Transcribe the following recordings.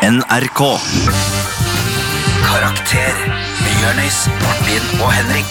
NRK. Karakter med Jørnis, Martin og Henrik.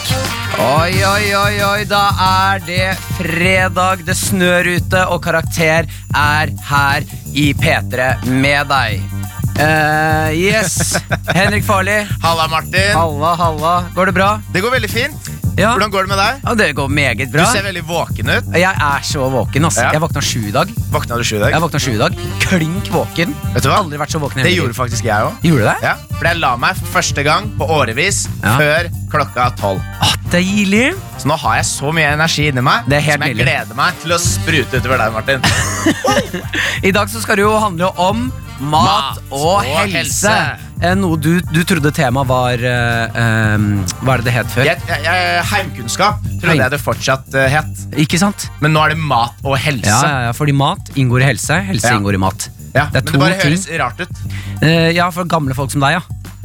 Oi, oi, oi, oi, da er det fredag, det snør ute, og Karakter er her i P3 med deg. Eh, yes. Henrik Farli. Halla, Martin. Halla, halla. Går det bra? Det går veldig fint. Ja. Hvordan går det med deg? Ja, det går meget Du bra. ser veldig våken ut. Jeg er så våken, ass. Ja. Jeg våkna sju i dag. Våkna du sju i dag? Jeg våkna sju i dag. Klink våken. Vet du hva? Aldri vært så våken. i Det hele gjorde mitt faktisk jeg òg. liv. Gjorde du det? Ja, for jeg la meg første gang på årevis Ja. før klokka tolv. Ah, deilig. Så nå har jeg så mye energi inni meg Det er helt som jeg nydelig. gleder meg til å sprute utover deg, Martin. I dag så skal det jo handle om mat, Mat og, og helse. helse. Eh, Noe du, du trodde temaet var eh, ehm, Hva er det det het før? Jeg, jeg, jeg, heimkunnskap trodde Heim. jeg det fortsatt eh, het. Ikke sant? Men nå er det mat og helse. Ja, ja, ja, fordi mat inngår i helse. Helse Ja. inngår i mat. Ja, Det er men to det bare ting. høres rart ut Eh, ja, for gamle folk som deg, ja.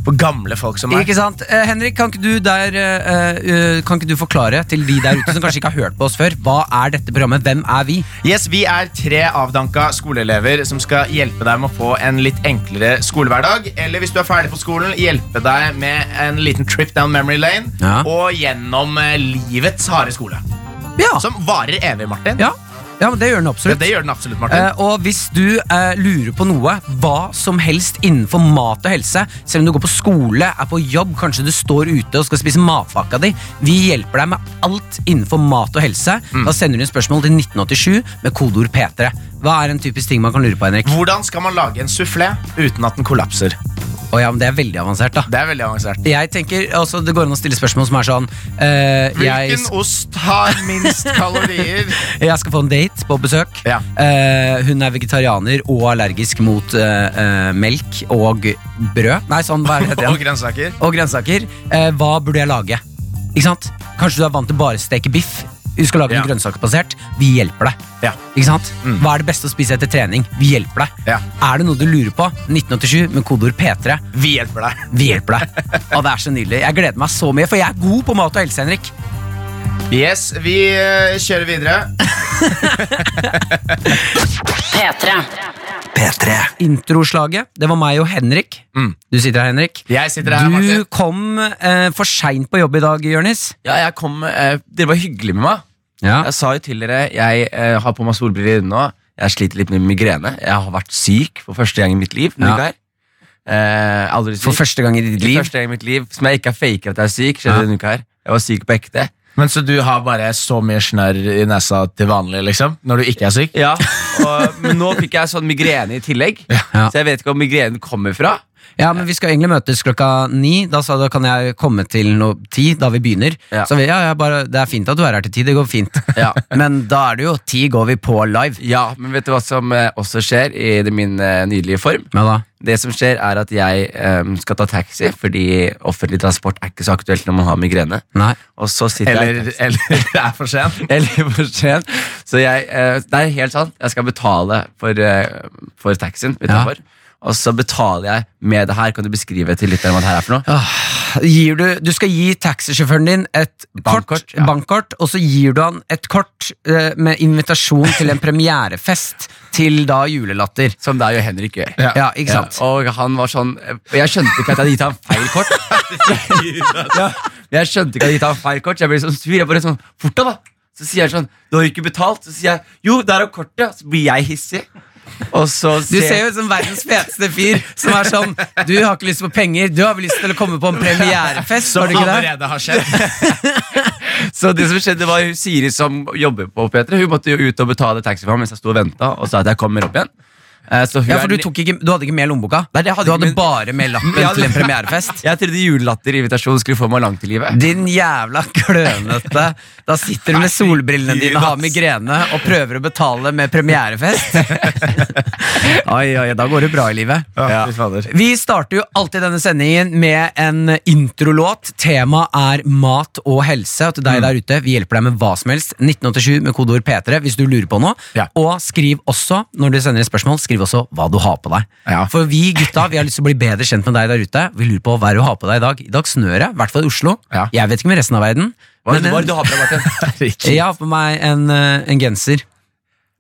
for gamle folk som meg. Ikke sant? Eh, Henrik, kan ikke, du der, eh, eh, kan ikke du forklare til de der ute som kanskje ikke har hørt på oss før, hva er dette programmet? Hvem er vi? Yes, Vi er tre avdanka skoleelever som skal hjelpe deg med å få en litt enklere skolehverdag. Eller hvis du er ferdig på skolen, hjelpe deg med en liten trip down memory lane. Ja. Og gjennom eh, livets harde skole. Ja, Som varer evig, Martin. Ah. ja. ja men det gjør den Ja, absolutt. det gjør den absolutt, Martin. Eh, og hvis du eh, lurer på noe, hva som helst innenfor mat og helse, selv om du går på skole, er på jobb, kanskje du står ute og skal spise matpakka di, vi hjelper deg med alt innenfor mat og helse. Da sender du inn spørsmål til 1987 med kodeord P3. Hva er en typisk ting man kan lure på, Henrik? Hvordan skal man lage en sufflé uten at den kollapser? Å ja, men det er veldig avansert, da. Det er veldig avansert. Jeg tenker, altså Det går an å stille spørsmål som er sånn eh, jeg, Hvilken ost har minst kalorier? jeg skal få en date på besøk. Ja. Eh, hun er vegetarianer og allergisk mot eh, eh, melk og brød. Nei, sånn, hva er det heter Og igjen? grønnsaker. og grønnsaker. Eh, hva burde jeg lage? Ikke sant? Kanskje du er vant til bare å steke biff. Du skal lage Ja. noe grønnsaksbasert. Vi hjelper deg. Ja. Ikke sant? Mm. Hva er det beste å spise etter trening? Vi hjelper deg. Ja. Er det noe du lurer på? 1987 med kodeord P3. Vi hjelper deg. Vi hjelper deg. Å, det er så nydelig. Jeg gleder meg så mye, for jeg er god på mat og helse, Henrik. Yes, vi eh, kjører videre. P3. P3. Introslaget, det var meg og Henrik. Mm. Du sitter her, Henrik. Jeg sitter her, Martin. du kom eh, for seint på jobb i dag, Jørnis. Ja, jeg kom eh, Dere var hyggelige med meg. Ja. Jeg sa jo til dere jeg eh, har på meg solbriller nå. Jeg sliter litt med migrene. Jeg har vært syk for første gang i mitt liv. Ja. Ja. Eh, aldri syk. For første gang i ditt For liv. første gang i mitt liv Som jeg ikke er faker at jeg er syk. Skjedde Ja. denne uka her Jeg var syk på ekte. Men Så du har bare så mye snørr i nesa til vanlig liksom når du ikke er syk? Ja, og, Men nå fikk jeg sånn migrene i tillegg, Ja. så jeg vet ikke hvor migrenen kommer fra. Ja, men vi skal egentlig møtes klokka ni. Da sa du kan jeg komme til noe ti, da vi begynner. Ja. Så vi, ja, jeg bare, det er fint at du er her til ti, det går fint. Ja. Men da er det jo ti går vi på live. Ja, Men vet du hva som eh, også skjer i det- min eh, nydelige form? Ja da. Det som skjer er at jeg em, skal ta taxi, fordi offentlig transport er ikke så aktuelt når man har migrene. Nei. Og så sitter jeg Eller, eller det er for sent? Eller for sent. Så jeg eh, Det er helt sant. Jeg skal betale for, eh, for taxien utenfor. Og så betaler jeg med det her. Kan du beskrive til lytteren hva det her er for noe? Gir du, du skal gi taxisjåføren din et Bankkort, kort, ja. bankkort, og så gir du han et kort eh, med invitasjon til en premierefest til da julelatter. Som det er jo Henrik gjør. Ja. Ja, ikke sant? Ja, og han var sånn Og jeg skjønte ikke at jeg hadde gitt ham feil kort. ja, jeg skjønte ikke at jeg hadde gitt ham feil kort, så jeg ble sånn sur. Jeg bare sånn, fort da, da. Så sier jeg sånn, du har jo ikke betalt. Så sier jeg, jo, der er kortet. Så blir jeg hissig. Og så Du ser jo ut som verdens feteste fyr som er sånn Du har ikke lyst på penger, du har vel lyst til å komme på en premierefest? Som var det ikke det? allerede har skjedd. Så det som skjedde var hun Siri som jobber på P3 Hun måtte jo ut og betale taxi for meg mens jeg sto og venta og sa at jeg kommer opp igjen. Eh, Så hun Ja, for er du, ne- tok ikke, du hadde ikke med lommeboka? Nei, det hadde du ikke, hadde men- bare med lappen Ja, det- til en premierefest? Jeg trodde julelatterinvitasjonen skulle få meg langt i livet. Din jævla klønete. Da sitter du med solbrillene dine, har migrene og prøver å betale med premierefest. Oi, oi, da går det bra i livet. Ja, fy fader. Vi starter jo alltid denne sendingen med en introlåt. Temaet er mat og helse. Og til Mm. deg der ute, vi hjelper deg med hva som helst. 1987 med kodeord P3 hvis du lurer på noe. Ja. Og skriv også, når du sender inn spørsmål, skriv også hva du har på deg. Ja. For vi gutta vi har lyst til å bli bedre kjent med deg der ute. Vi lurer på hva er det du har på deg i dag. I dag snør det, i hvert fall i Oslo. Ja. Jeg vet ikke med resten av verden. Hva er det men eh, hva er det du har på deg, Martin? jeg har på meg en, eh, en genser.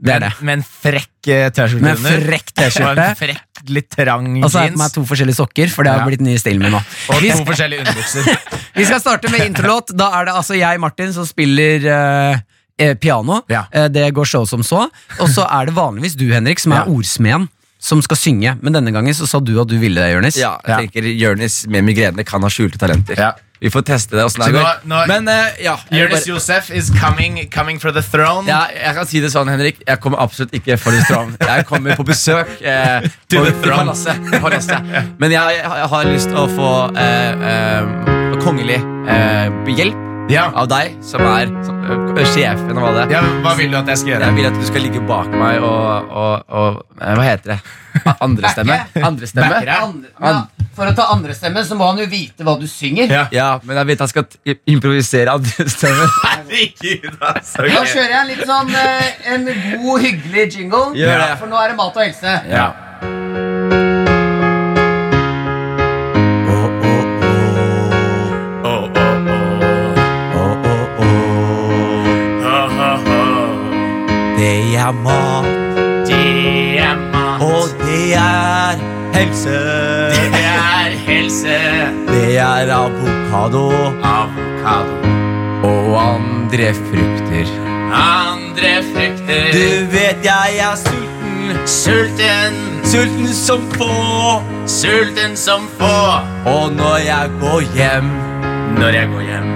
Det er det. Med en frekk eh, T-skjorte Med en frekk T-skjorte. Og en frekk, litt trang Og så har jeg på meg jeans. to forskjellige sokker, for det har Ja. blitt den nye stilen min nå. Og Vi, to forskjellige underbukser. vi skal starte med introlåt. Da er det altså jeg, Martin, som spiller eh, eh, piano. Ja. Eh, det går så som så. Og så er det vanligvis du, Henrik, som er Ja. ordsmeden, som skal synge. Men denne gangen så sa du at du ville det, Jonis. Ja, jeg tenker Jonis med migrene kan ha skjulte talenter. Ja. Vi får teste det. Så hvordan det nå- går nå- Men eh, ja, jeg, vil Jonis bare, Josef is coming, coming for the throne. ja, jeg kan si det sånn, Henrik. Jeg kommer absolutt ikke for det stram. Jeg kommer på besøk eh, To på- the på throne. palasset. på palasset. Men jeg, jeg har lyst til å få eh, eh, kongelig eh, hjelp Ja. av deg, som er som, eh, sjefen og hva det er. Ja, Hva vil du at jeg skal gjøre? Jeg vil at du skal ligge bak meg og, og, og eh, Hva heter det? A- Andre stemme? Andre stemme? Backer jeg? An- for å ta andrestemme, så må han jo vite hva du synger. Ja. Ja, men jeg vet han skal t- improvisere andre stemmer. Herregud, altså. ok. kjører jeg en litt sånn en god, hyggelig jingle. Gjør det. for nå er det mat og helse. Ja. Det er mat, og det er helse. Det er helse, Det er avokado avokado, og andre frukter. andre frukter, Du vet jeg er sulten, sulten, sulten som få. sulten som få. Og når jeg går hjem, Når jeg går hjem,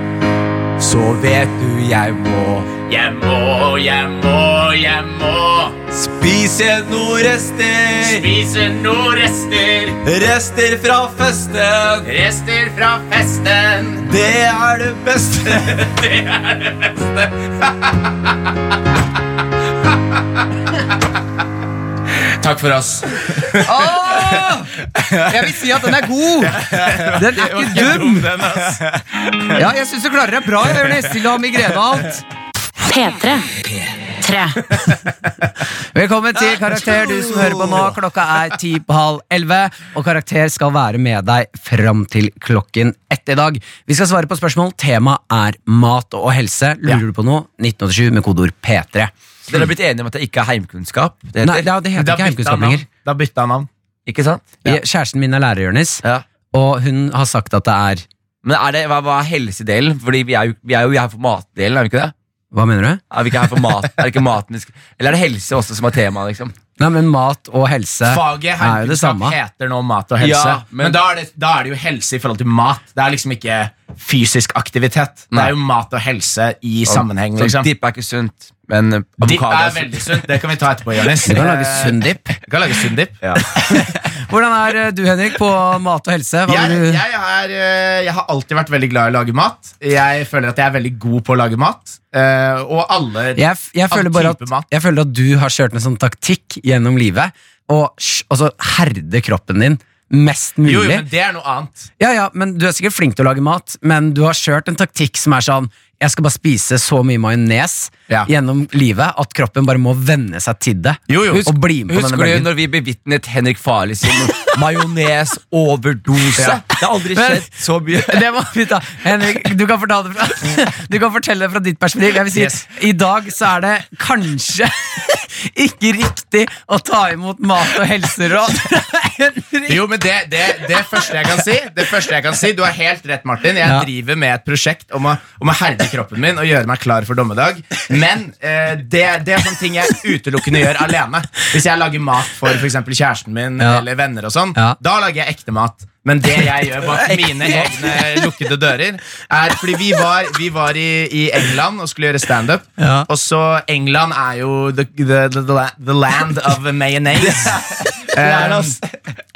så vet du jeg må jeg må, jeg må, jeg må spise noen rester. spise noen rester. Rester fra festen. Rester fra festen. Det er det beste. Takk for oss. Jeg vil si at den er god! Den er ikke dum! Ja, jeg syns du klarer deg bra, Jonis, til å ha migrene og alt. P3. P3. Velkommen til Karakter, du som hører på nå. Klokka er ti på halv elleve, og Karakter skal være med deg fram til klokken ett i dag. Vi skal svare på spørsmål. Temaet er mat og helse. Lurer du på noe? 1987 med kodeord P3. Dere har blitt enige om at det ikke er heimkunnskap? Det Nei, heter, ja, det heter ikke heimkunnskap lenger. Da bytta han navn. ikke sant? Jeg- Kjæresten min er lærer, Jonis, og hun har sagt at det er Men er det, hva, hva er helsedelen? Fordi vi er jo, vi er jo her for matdelen, er vi ikke det? Hva mener du? Er vi ikke her for mat? Er det ikke maten vi skal Eller er det helse også som er tema, liksom? Nei, men mat og helse Faget er jo det heimkunnskap samme. heter nå mat og helse. Ja, men men- da, er det, da er det jo helse i forhold til mat. Det er liksom ikke fysisk aktivitet. Det Nei. er jo mat og helse i sammenheng. Så liksom sånn Dipp er ikke sunt, men eh, Dipp avokado er er sunt. veldig sunt. Det kan vi ta etterpå. Jonis Du kan lage sunn dipp. Du kan lage sunn dipp. Hvordan er eh, du, Henrik, på mat og helse? Hva Jeg, vil du? jeg, er, eh, jeg har alltid vært veldig glad i å lage mat. Jeg føler at jeg er veldig god på å lage mat. eh, Og alle Jeg, f- jeg, føler all bare type mat. at, jeg føler at du har kjørt en sånn taktikk gjennom livet, og sj- altså, herde kroppen din mest mulig. Jo, jo, men det er noe annet. Ja, ja, men Du er sikkert flink til å lage mat, men du har kjørt en taktikk som er sånn Jeg skal bare spise så mye majones Ja. gjennom livet at kroppen bare må venne seg til det. Jo, jo. Og bli med på denne Husker du bølgen. når vi bevitnet Henrik Farley sin majones-overdose? Ja. Det har aldri Men- skjedd så mye. Det må vi ta. Henrik, du kan fortelle det fra, du kan fortelle det fra ditt perspektiv. Jeg vil si, Yes. I dag så er det kanskje ikke riktig å ta imot mat og helseråd. Henrik. Jo, men det, det, det første jeg kan si Det første jeg kan si, Du har helt rett, Martin. Jeg Ja. driver med et prosjekt om å, om å herde kroppen min og gjøre meg klar for dommedag. Men eh, det, det er sånne ting jeg utelukkende gjør alene. Hvis jeg lager mat for for eksempel kjæresten min Ja. eller venner, og sånn Ja. da lager jeg ekte mat. Men det jeg gjør bak mine egne lukkede dører, er fordi vi var, vi var i, i England og skulle gjøre standup. Ja. Og så England er jo the, the, the, the land of mayonnaise. er det, Um, ass.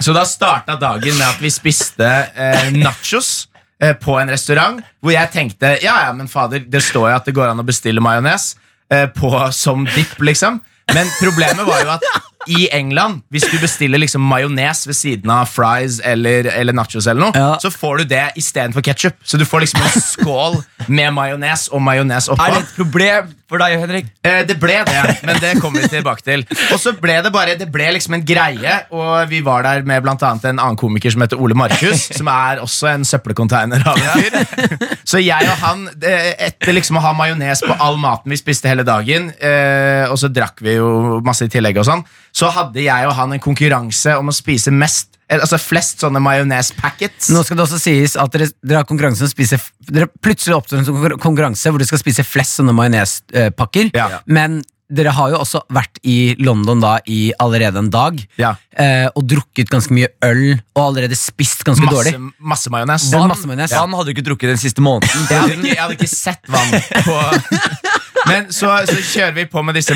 så da starta dagen med at vi spiste eh, nachos eh, på en restaurant, hvor jeg tenkte ja, ja, men fader, det står jo at det går an å bestille majones eh, på- som dipp, liksom. Men problemet var jo at i England, hvis du bestiller liksom majones ved siden av fries eller, eller nachos, eller noe, Ja. så får du det istedenfor ketsjup. Så du får liksom en skål med majones og majones oppå. Er det et problem for deg, Henrik? Eh, Det ble det, men det kommer vi tilbake til. Og så ble det bare Det ble liksom en greie, og vi var der med blant annet en annen komiker som heter Ole Markus, som er også en søppelcontainer av en fyr. Så jeg og han, det- etter liksom å ha majones på all maten vi spiste hele dagen, eh, og så drakk vi jo masse i tillegg og sånn, så hadde jeg og han en konkurranse om å spise mest eller, Altså flest sånne majones-packets. Nå skal det også sies at dere, dere har konkurransen å spise f- Dere plutselig oppstår en sånn konkur- konkurranse hvor dere skal spise flest sånne majonespakker. Ja. Men dere har jo også vært i London da i allerede en dag Ja. eh, og drukket ganske mye øl og allerede spist ganske Masse, dårlig. masse majones. Det er masse majones. Han hadde jo ikke drukket den siste måneden. Jeg hadde ikke, jeg hadde ikke sett vann på Men så, så kjører vi på med disse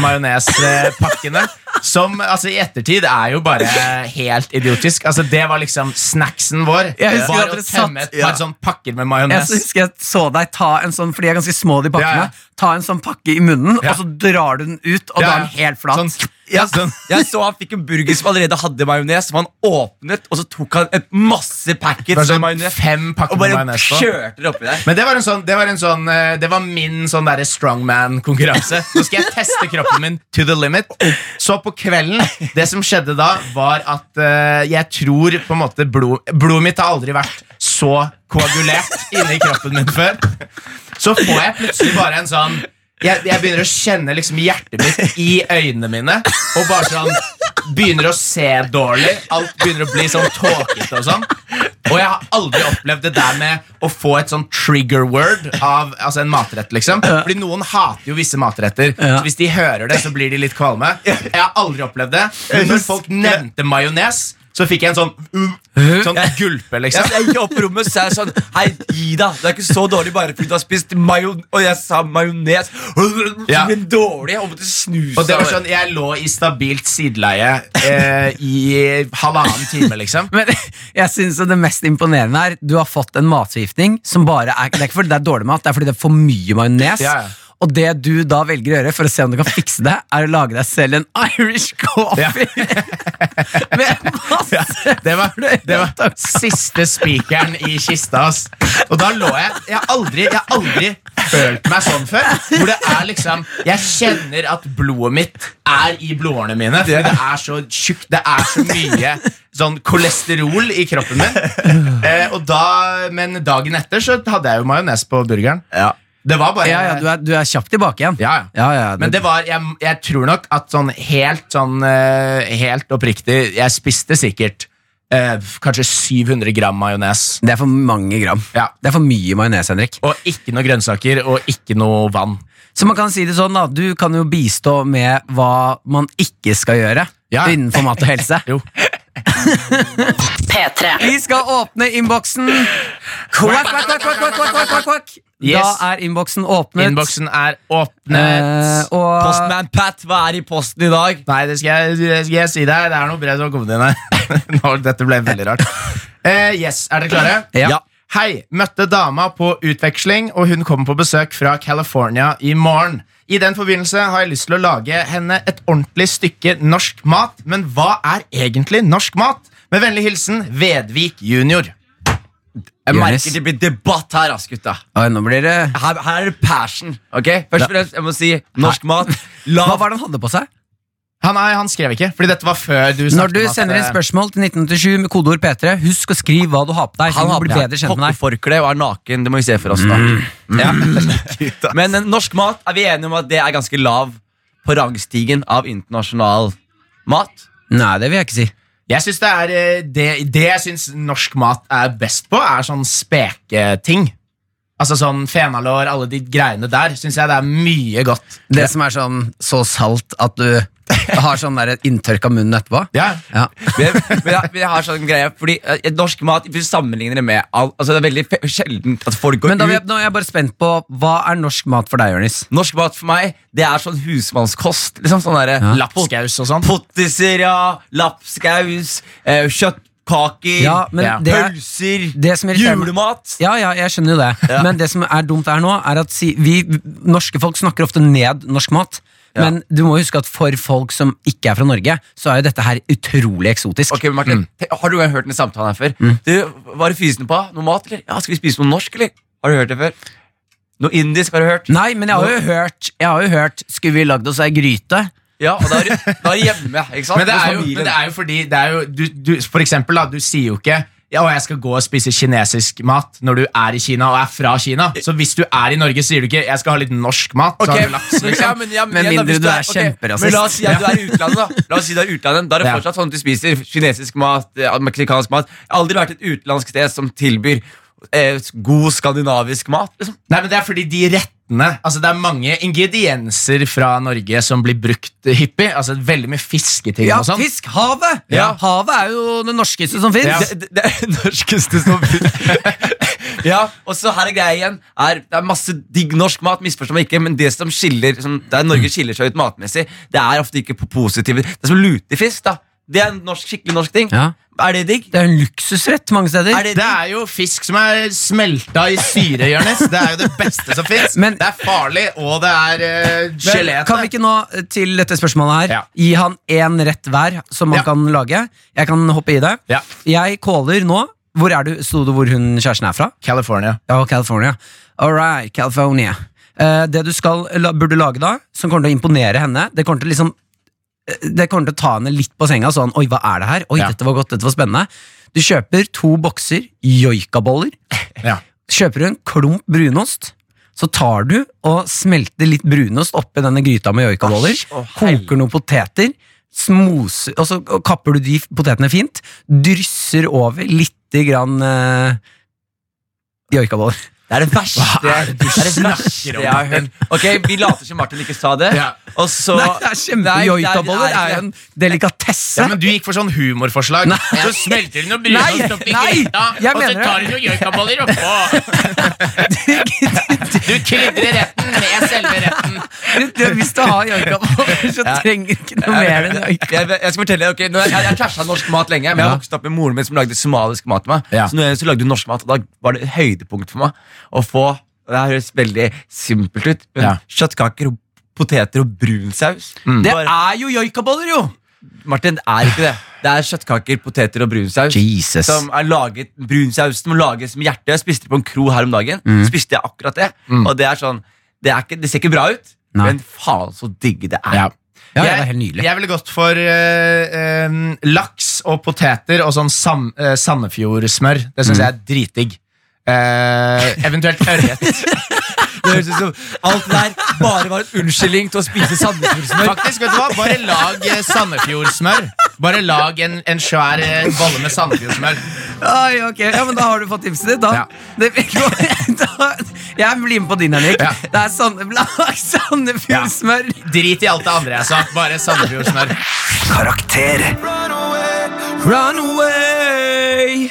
majonespakkene. Som altså, i ettertid er jo bare helt idiotisk. Altså Det var liksom snacksen vår. Jeg husker var at å dere satt- tømme et par ja. sånn pakker med Jeg så majones. husker jeg så deg ta en sånn For de er ganske små, de Ja, pakkene. ja. Ta en sånn pakke i munnen, Ja. og så drar du den ut, og da er den helt flat. Sånn, ja, sånn. Jeg så han fikk en burger som allerede hadde majones, som han åpnet, og så tok han et masse Det var packets med sånn majones. fem Og pakker med bare majones på. kjørte det oppi der. Men det var, en sånn, det, var en sånn, eh, det var min sånn derre strongman-konkurranse. Nå skal jeg teste kroppen min to the limit. Så på kvelden Det som skjedde da, var at eh, jeg tror på en måte blod, Blodet mitt har aldri vært så koagulert inni kroppen min før. Så får jeg plutselig bare en sånn jeg, jeg begynner å kjenne liksom hjertet mitt i øynene mine. Og bare sånn Begynner å se dårlig. Alt begynner å bli sånn tåkete og sånn. Og jeg har aldri opplevd det der med å få et sånn trigger word av altså en matrett. liksom Fordi noen hater jo visse matretter. Ja. Så hvis de hører det, så blir de litt kvalme. Jeg har aldri opplevd det. Men når folk nevnte majones, så fikk jeg en sånn uh, Sånn gulpe, Ja, liksom. så jeg gikk opp på rommet og sa sånn Hei, gi deg. Det er ikke så dårlig bare fordi du har spist majon... Og jeg sa majones. Ja. Men dårlig. Jeg måtte snu Og det var sånn, Jeg lå i stabilt sideleie eh, i halvannen time, liksom. Men jeg synes at det mest imponerende er Du har fått en matforgiftning som bare er Det er ikke fordi det er dårlig mat, det er fordi det er for mye majones. Ja, ja. Og det du da velger å gjøre for å se om du kan fikse det, er å lage deg selv en Irish coffee. Ja. Med masse Det var, det var siste spikeren i kista. Ass. Og da lå jeg Jeg har aldri, jeg har aldri følt meg sånn før. Hvor det er liksom Jeg kjenner at blodet mitt er i blodårene mine. Fordi det er så tjukt. Det er så mye sånn kolesterol i kroppen min. Eh, og da, men dagen etter så hadde jeg jo majones på burgeren. Ja. Det var bare Ja, ja, du er, du er kjapt tilbake igjen. Ja, ja. ja, ja, Men det var, jeg, jeg tror nok at sånn helt sånn eh, Helt oppriktig Jeg spiste sikkert eh, kanskje 700 gram majones. det er for mange gram. Ja. Det er for mye majones, Henrik. Og ikke noe grønnsaker og ikke noe vann. Så man kan si det sånn da Du kan jo bistå med hva man ikke skal gjøre Ja. innenfor mat og helse. Jo. P3. Vi skal åpne innboksen. Kvakk, kvakk, kvakk, kvakk, kvakk, kvakk, kvakk, kvakk. Yes. Da er innboksen åpnet. Innboksen er Eh, åpnet. og Postman Pat, hva er i posten i dag? Nei, det skal jeg, det skal jeg si deg. Det er noe brev som har kommet inn her. Nå, Dette ble veldig rart. Eh, yes, Er dere klare? Ja. Ja. Hei, møtte dama på utveksling, og hun kommer på besøk fra California i morgen. I den forbindelse har jeg lyst til å lage henne et ordentlig stykke norsk mat. Men hva er egentlig norsk mat? Med vennlig hilsen Vedvik junior. Jonis. Jeg merker det blir debatt her, ass, gutta. Oi, nå blir det Her, her er det passion. ok? Først og fremst, jeg må si norsk mat. Hva Lav var det han hadde på seg? Han, Ah, nei, han skrev ikke, fordi dette var før du Når du om at, sender inn eh, spørsmål til 1987 med kodeord P3, husk å skrive hva du har på deg. Han Han har blir på bedre seg kjent med deg Mm. kokkeforkle og er naken. Det må vi se for oss, da. Ja. Men eh, norsk mat er vi enige om at det er ganske lav på rangstigen av internasjonal mat. Nei, det vil jeg ikke si. Jeg synes det, er, eh, det, det jeg syns norsk mat er best på, er sånn speketing. Altså sånn fenalår, alle de greiene der. Syns jeg det er mye godt. Det som er sånn så salt at du har sånn der inntørka munn etterpå. Ja. Ja. Men, men, jeg, men jeg har sånn greie Fordi eh, norsk mat hvis du sammenligner det med all, Altså Det er veldig fe- sjelden at folk går Men da, vil ut. jeg- nå er jeg bare spent på hva er norsk mat for deg, Jonis? Norsk mat for meg, det er sånn husmannskost. Liksom sånn der, Lapskaus og sånn. Pottiser, ja. Lapskaus. Eh, kjøttkaker. Ja, men Ja. det er pølser. det som irriterer meg- julemat. Ja, ja, jeg skjønner jo det. Men det som er dumt her nå, er at si, vi norske folk snakker ofte ned norsk mat. Men du må huske at for folk som ikke er fra Norge, så er jo dette her utrolig eksotisk. Ok, men Martin, Mm. te- Har du hørt den samtalen her før? Du, Var det fysen på? Noe mat, eller? Ja, Skal vi spise noe norsk, eller? Har du hørt det før? Noe indisk har du hørt? Nei, men jeg har jo hørt, jeg har jo hørt Skulle vi lagd oss ei gryte? Ja, og da er du da er du hjemme. ikke sant? Men det Hos er jo, familien. men det er jo fordi det er jo, du, du, For eksempel, da, du sier jo ikke ja, og jeg skal gå og spise kinesisk mat når du er i Kina og er fra Kina. Så hvis du er i Norge, sier du ikke 'jeg skal ha litt norsk mat'. Så Ok, har du laks, liksom. ja, men, ja, men, Med igjen da, mindre hvis du er ok, kjemperasist. Men la oss si at du er i utlandet, da. La oss si du er i utlandet Da er det Ja. fortsatt sånn at du spiser kinesisk mat, eh, meksikansk mat. Jeg har aldri vært et utenlandsk sted som tilbyr eh, god skandinavisk mat. Liksom. Nei, men Det er fordi de rettene Altså Det er mange ingredienser fra Norge som blir brukt hyppig. Altså Veldig mye fisketing Ja, og sånn. fisk! Havet! Ja. Havet er jo det norskeste som fins. Ja. Det, det, det er norskeste som Ja, og så her er greia igjen er, Det er masse digg norsk mat, misforstå meg ikke, men det som skiller som, Der Norge skiller seg ut matmessig, det er ofte ikke på positive Det er som lutefisk, da. Det er en norsk, skikkelig norsk ting. Ja. Er det digg? Det er en luksusrett mange steder. Er det Det er jo fisk som er smelta i syre, Jonis. Det er jo det beste som fins. Men- Det er farlig, og det er eh, Men gelé. Kan vi ikke nå eh, til dette spørsmålet her Ja. gi han én rett hver som man Ja. kan lage? Jeg kan hoppe i det. Ja. Jeg caller nå. Hvor er du? Sto det hvor hun kjæresten er fra? California. Ja, California. All right, California. Eh, det du skal, la, burde lage da, som kommer til å imponere henne Det kommer til, å liksom, eh, det kommer til å ta henne litt på senga. Sånn, Oi, hva er det her? Oi, Ja. dette var godt, dette var spennende. Du kjøper to bokser joikaboller. Ja. Kjøper du en klump brunost. Så tar du og smelter litt brunost oppi denne gryta med joikaboller. Æsj, å, helvete. Koker noen poteter. Smoser, og så kapper du de potetene fint. Drysser over lite grann eh, joikaboller. Det er det verste, det er det verste snakker om, jeg har hørt. Ok, Vi later som Martin ikke sa det. Ja. Og så Nei, det er Nei, det er- det er kjempejoitaboller. Det er jo ikke en det. delikatesse. Ja, men du gikk for sånn humorforslag. Så smelter du noe Nei, brunost oppi nei, gryta, jeg og så mener tar du noen joikaboller oppå. Du krydrer retten med selve retten. Du- Hvis du har joikaboller, så trenger du ikke noe mer enn jeg, joik. jeg, jeg skal fortelle deg, ok, nå- Jeg, jeg trasha norsk mat lenge, men jeg Ja. vokste opp med moren min som lagde somalisk mat til meg. Ja. Så når jeg så lagde hun norsk mat, og da var det høydepunkt for meg å få og Det her høres veldig simpelt ut, men Ja. kjøttkaker og poteter og brun saus. Det Bare- er jo joikaboller, jo! Martin, det er ikke det. Det er kjøttkaker, poteter og brunsaus. Jesus. Som er laget, brunsausen må lages med hjertet. Jeg spiste det på en kro her om dagen. Spiste jeg akkurat det. Og det er sånn Det, er ikke, det ser ikke bra ut, Nei. men faen så digg det er. Ja. Ja, det er helt nydelig. Jeg ville gått for eh, em, laks og poteter og sånn sam, eh, Sandefjord-smør. Det Mm. syns jeg er dritdigg. Eh, eventuelt ørret. Det høres ut som alt det der bare var en unnskyldning til å spise sandefjordsmør. Faktisk, vet du hva? Bare lag eh, Sandefjord-smør. Bare lag en, en svær eh, bolle med Sandefjord-smør. Oi, ok, ja, men Da har du fått tipset ditt, da. Ja. Det, da jeg blir med på din, Henrik. Ja. Det er Sande- lag Sandefjordsmør. Drit i alt det andre jeg sa. Bare Sandefjord-smør. Karakter Run away!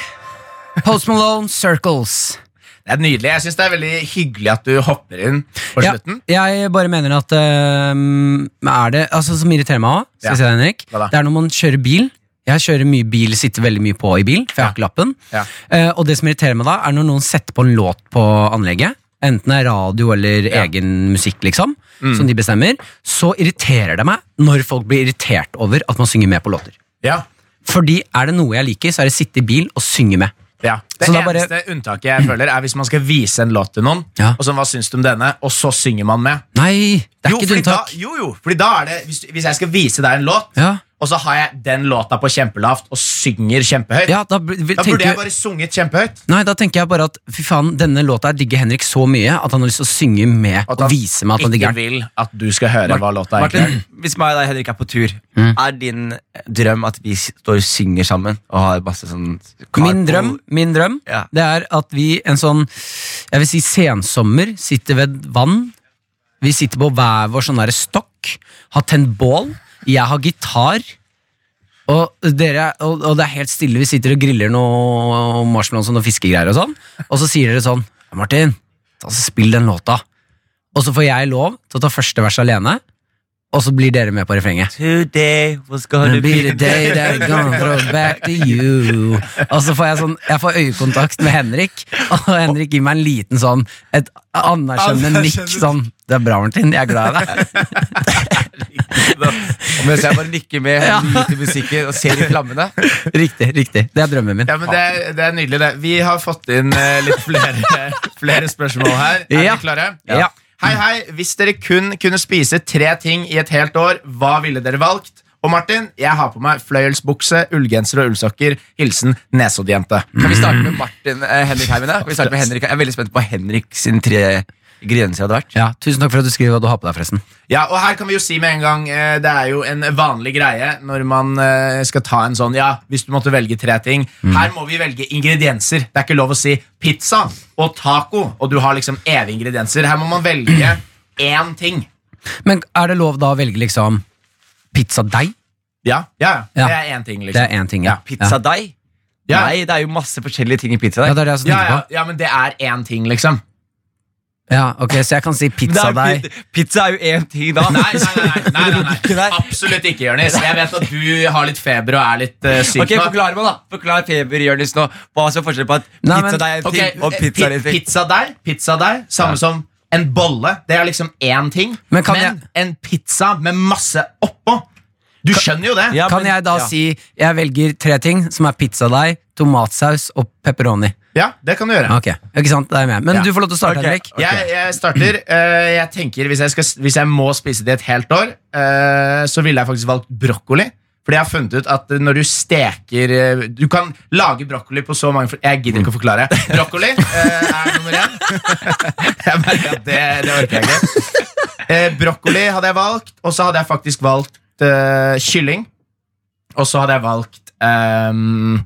Post Malone Circles. Det er nydelig. Jeg syns det er veldig hyggelig at du hopper inn på Ja, slutten. jeg bare mener at øhm, er det, altså, Som irriterer meg òg, skal jeg si deg, Henrik, Hva da? det er når man kjører bil. Jeg kjører mye bil, sitter veldig mye på i bil, for jeg har ikke lappen. Ja. Eh, og det som irriterer meg da, er når noen setter på en låt på anlegget. Enten det er radio eller egen musikk, liksom, Mm. som de bestemmer. Så irriterer det meg når folk blir irritert over at man synger med på låter. Ja. Fordi er det noe jeg liker, så er det å sitte i bil og synge med. Ja. Det Så da bare- eneste unntaket jeg føler, er hvis man skal vise en låt til noen, Ja. og sånn, hva syns du om denne, og så synger man med. Nei, det er jo, ikke et fordi da, unntak. jo, jo, fordi da er det Hvis, du- hvis jeg skal vise deg en låt, Ja. og så har jeg den låta på kjempelavt og synger kjempehøyt, Ja, da, bl- da tenker- burde jeg bare sunget kjempehøyt. Nei, da tenker jeg bare at fy faen, denne låta her digger Henrik så mye at han har lyst til å synge med og han vise meg at han ikke digger den. vil at du skal høre hva låta egentlig er. Martin, hvis meg og deg Henrik er på tur, Mm. er din drøm at vi s- står og synger sammen? Og har masse sånn Min drøm, min drøm Ja. det er at vi en sånn Jeg vil si sensommer, sitter ved et vann. Vi sitter på hver vår sånn der stokk, har tent bål. Jeg har gitar. Og, dere, og, og det er helt stille, vi sitter og griller noe marshmallows og noe fiskegreier og sånn. Og så sier dere sånn «Ja, Martin, ta så spill den låta. Og så får jeg lov til å ta første vers alene, og så blir dere med på refrenget. Today was gonna Gonna be the day that I'm gonna throw back to you. Og så får jeg sånn Jeg får øyekontakt med Henrik, og Henrik gir meg en liten sånn Et anerkjennende nikk Anerkjennende. sånn Det er bra, Martin. Jeg er glad i deg. Mens jeg bare nikker med nyter musikken og ser i flammene. Riktig, riktig. Det er drømmen min. Ja, men det, er- det er nydelig, det. Vi har fått inn eh, litt flere, flere spørsmål her. Er Ja. dere klare? Ja. Hei, hei. Hvis dere kun kunne spise tre ting i et helt år, hva ville dere valgt? Og Martin, jeg har på meg fløyelsbukse, ullgenser og ullsokker. Hilsen Nesoddjente. Kan vi starte med Martin eh, Henrik Heimene? Kan vi starte med Henrik? Jeg er veldig spent på hva Henrik sin tre ingredienser hadde vært. Ja, Tusen takk for at du skriver hva du har på deg, forresten. Ja, og her kan vi jo si med en gang eh, Det er jo en vanlig greie når man eh, skal ta en sånn Ja, hvis du måtte velge tre ting Her må vi velge ingredienser Det er ikke lov å si pizza og taco Og du har liksom evige ingredienser Her må man velge én ting Men er det lov da å velge liksom pizzadeig? Ja, ja, ja. Ja. det er én ting Det liksom er én ting, ja. Pizza deg? Ja. Nei, det er jo masse forskjellige ting i pizza Ja, det deg. er det jeg også ja, tenker ja, på. ja, men det er én ting liksom Ja, ok, Så jeg kan si pizzadeig. Pizza er jo én ting, da. Nei, nei, nei, nei, nei, nei, nei. Nei. absolutt ikke, Jørnis Jeg vet at du har litt feber og er litt eh, syk Ok, nå. Forklar meg, da. Forklar Feber Jonis nå hva som er forskjellen på at Nei, pizza men- deg er en Ok, ting, og pizza er en pi- ting. Pizza der, pizza der Samme som en bolle Det er liksom én ting Men kan en pizza med masse oppå Du skjønner jo det Ja, Kan men- jeg da ja. si jeg velger tre ting, som er pizzadeig, tomatsaus og pepperoni? Ja, det kan du gjøre Ok, ikke sant? Det er jeg med. Men Ja. du får lov til å starte, Ok. Henrik. Jeg, jeg starter eh, Jeg tenker hvis jeg, skal, hvis jeg må spise det et helt år eh, Så ville jeg faktisk valgt brokkoli fordi jeg har funnet ut at når du steker eh, Du kan lage brokkoli på så mange Jeg gidder ikke å forklare Brokkoli eh, er nummer én Jeg merker at det, det orker jeg ikke Eh, brokkoli hadde jeg valgt, og så hadde jeg faktisk valgt eh, kylling. Og så hadde jeg valgt ehm,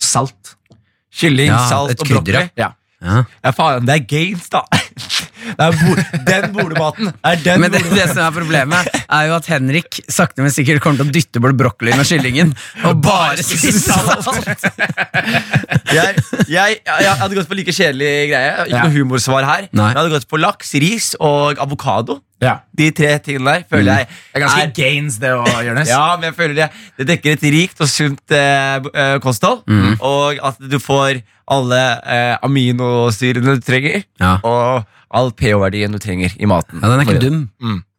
salt. Kylling, Ja, et salt og krydder, brokkoli. Ja. Ja. Ja, faen, det er gains, da. Det er bo den bolematen. Det er den Men det, bolematen. det som er problemet, er jo at Henrik sakte, men sikkert kommer til å dytte bort brokkolien og kyllingen og bare spise salt. Jeg, jeg, jeg hadde gått på like kjedelig greie. Ikke Ja. noe humorsvar her. Nei. Jeg hadde gått på laks, ris og avokado. Ja. De tre tingene der føler jeg Det er ganske gains, det òg, Jonis. Ja, men jeg føler det, det dekker et rikt og sunt eh, b- eh, kosthold. Mhm. Og at du får alle eh, aminosyrene du trenger, Ja. og all pH-verdien du trenger i maten. Ja, den er ikke dum.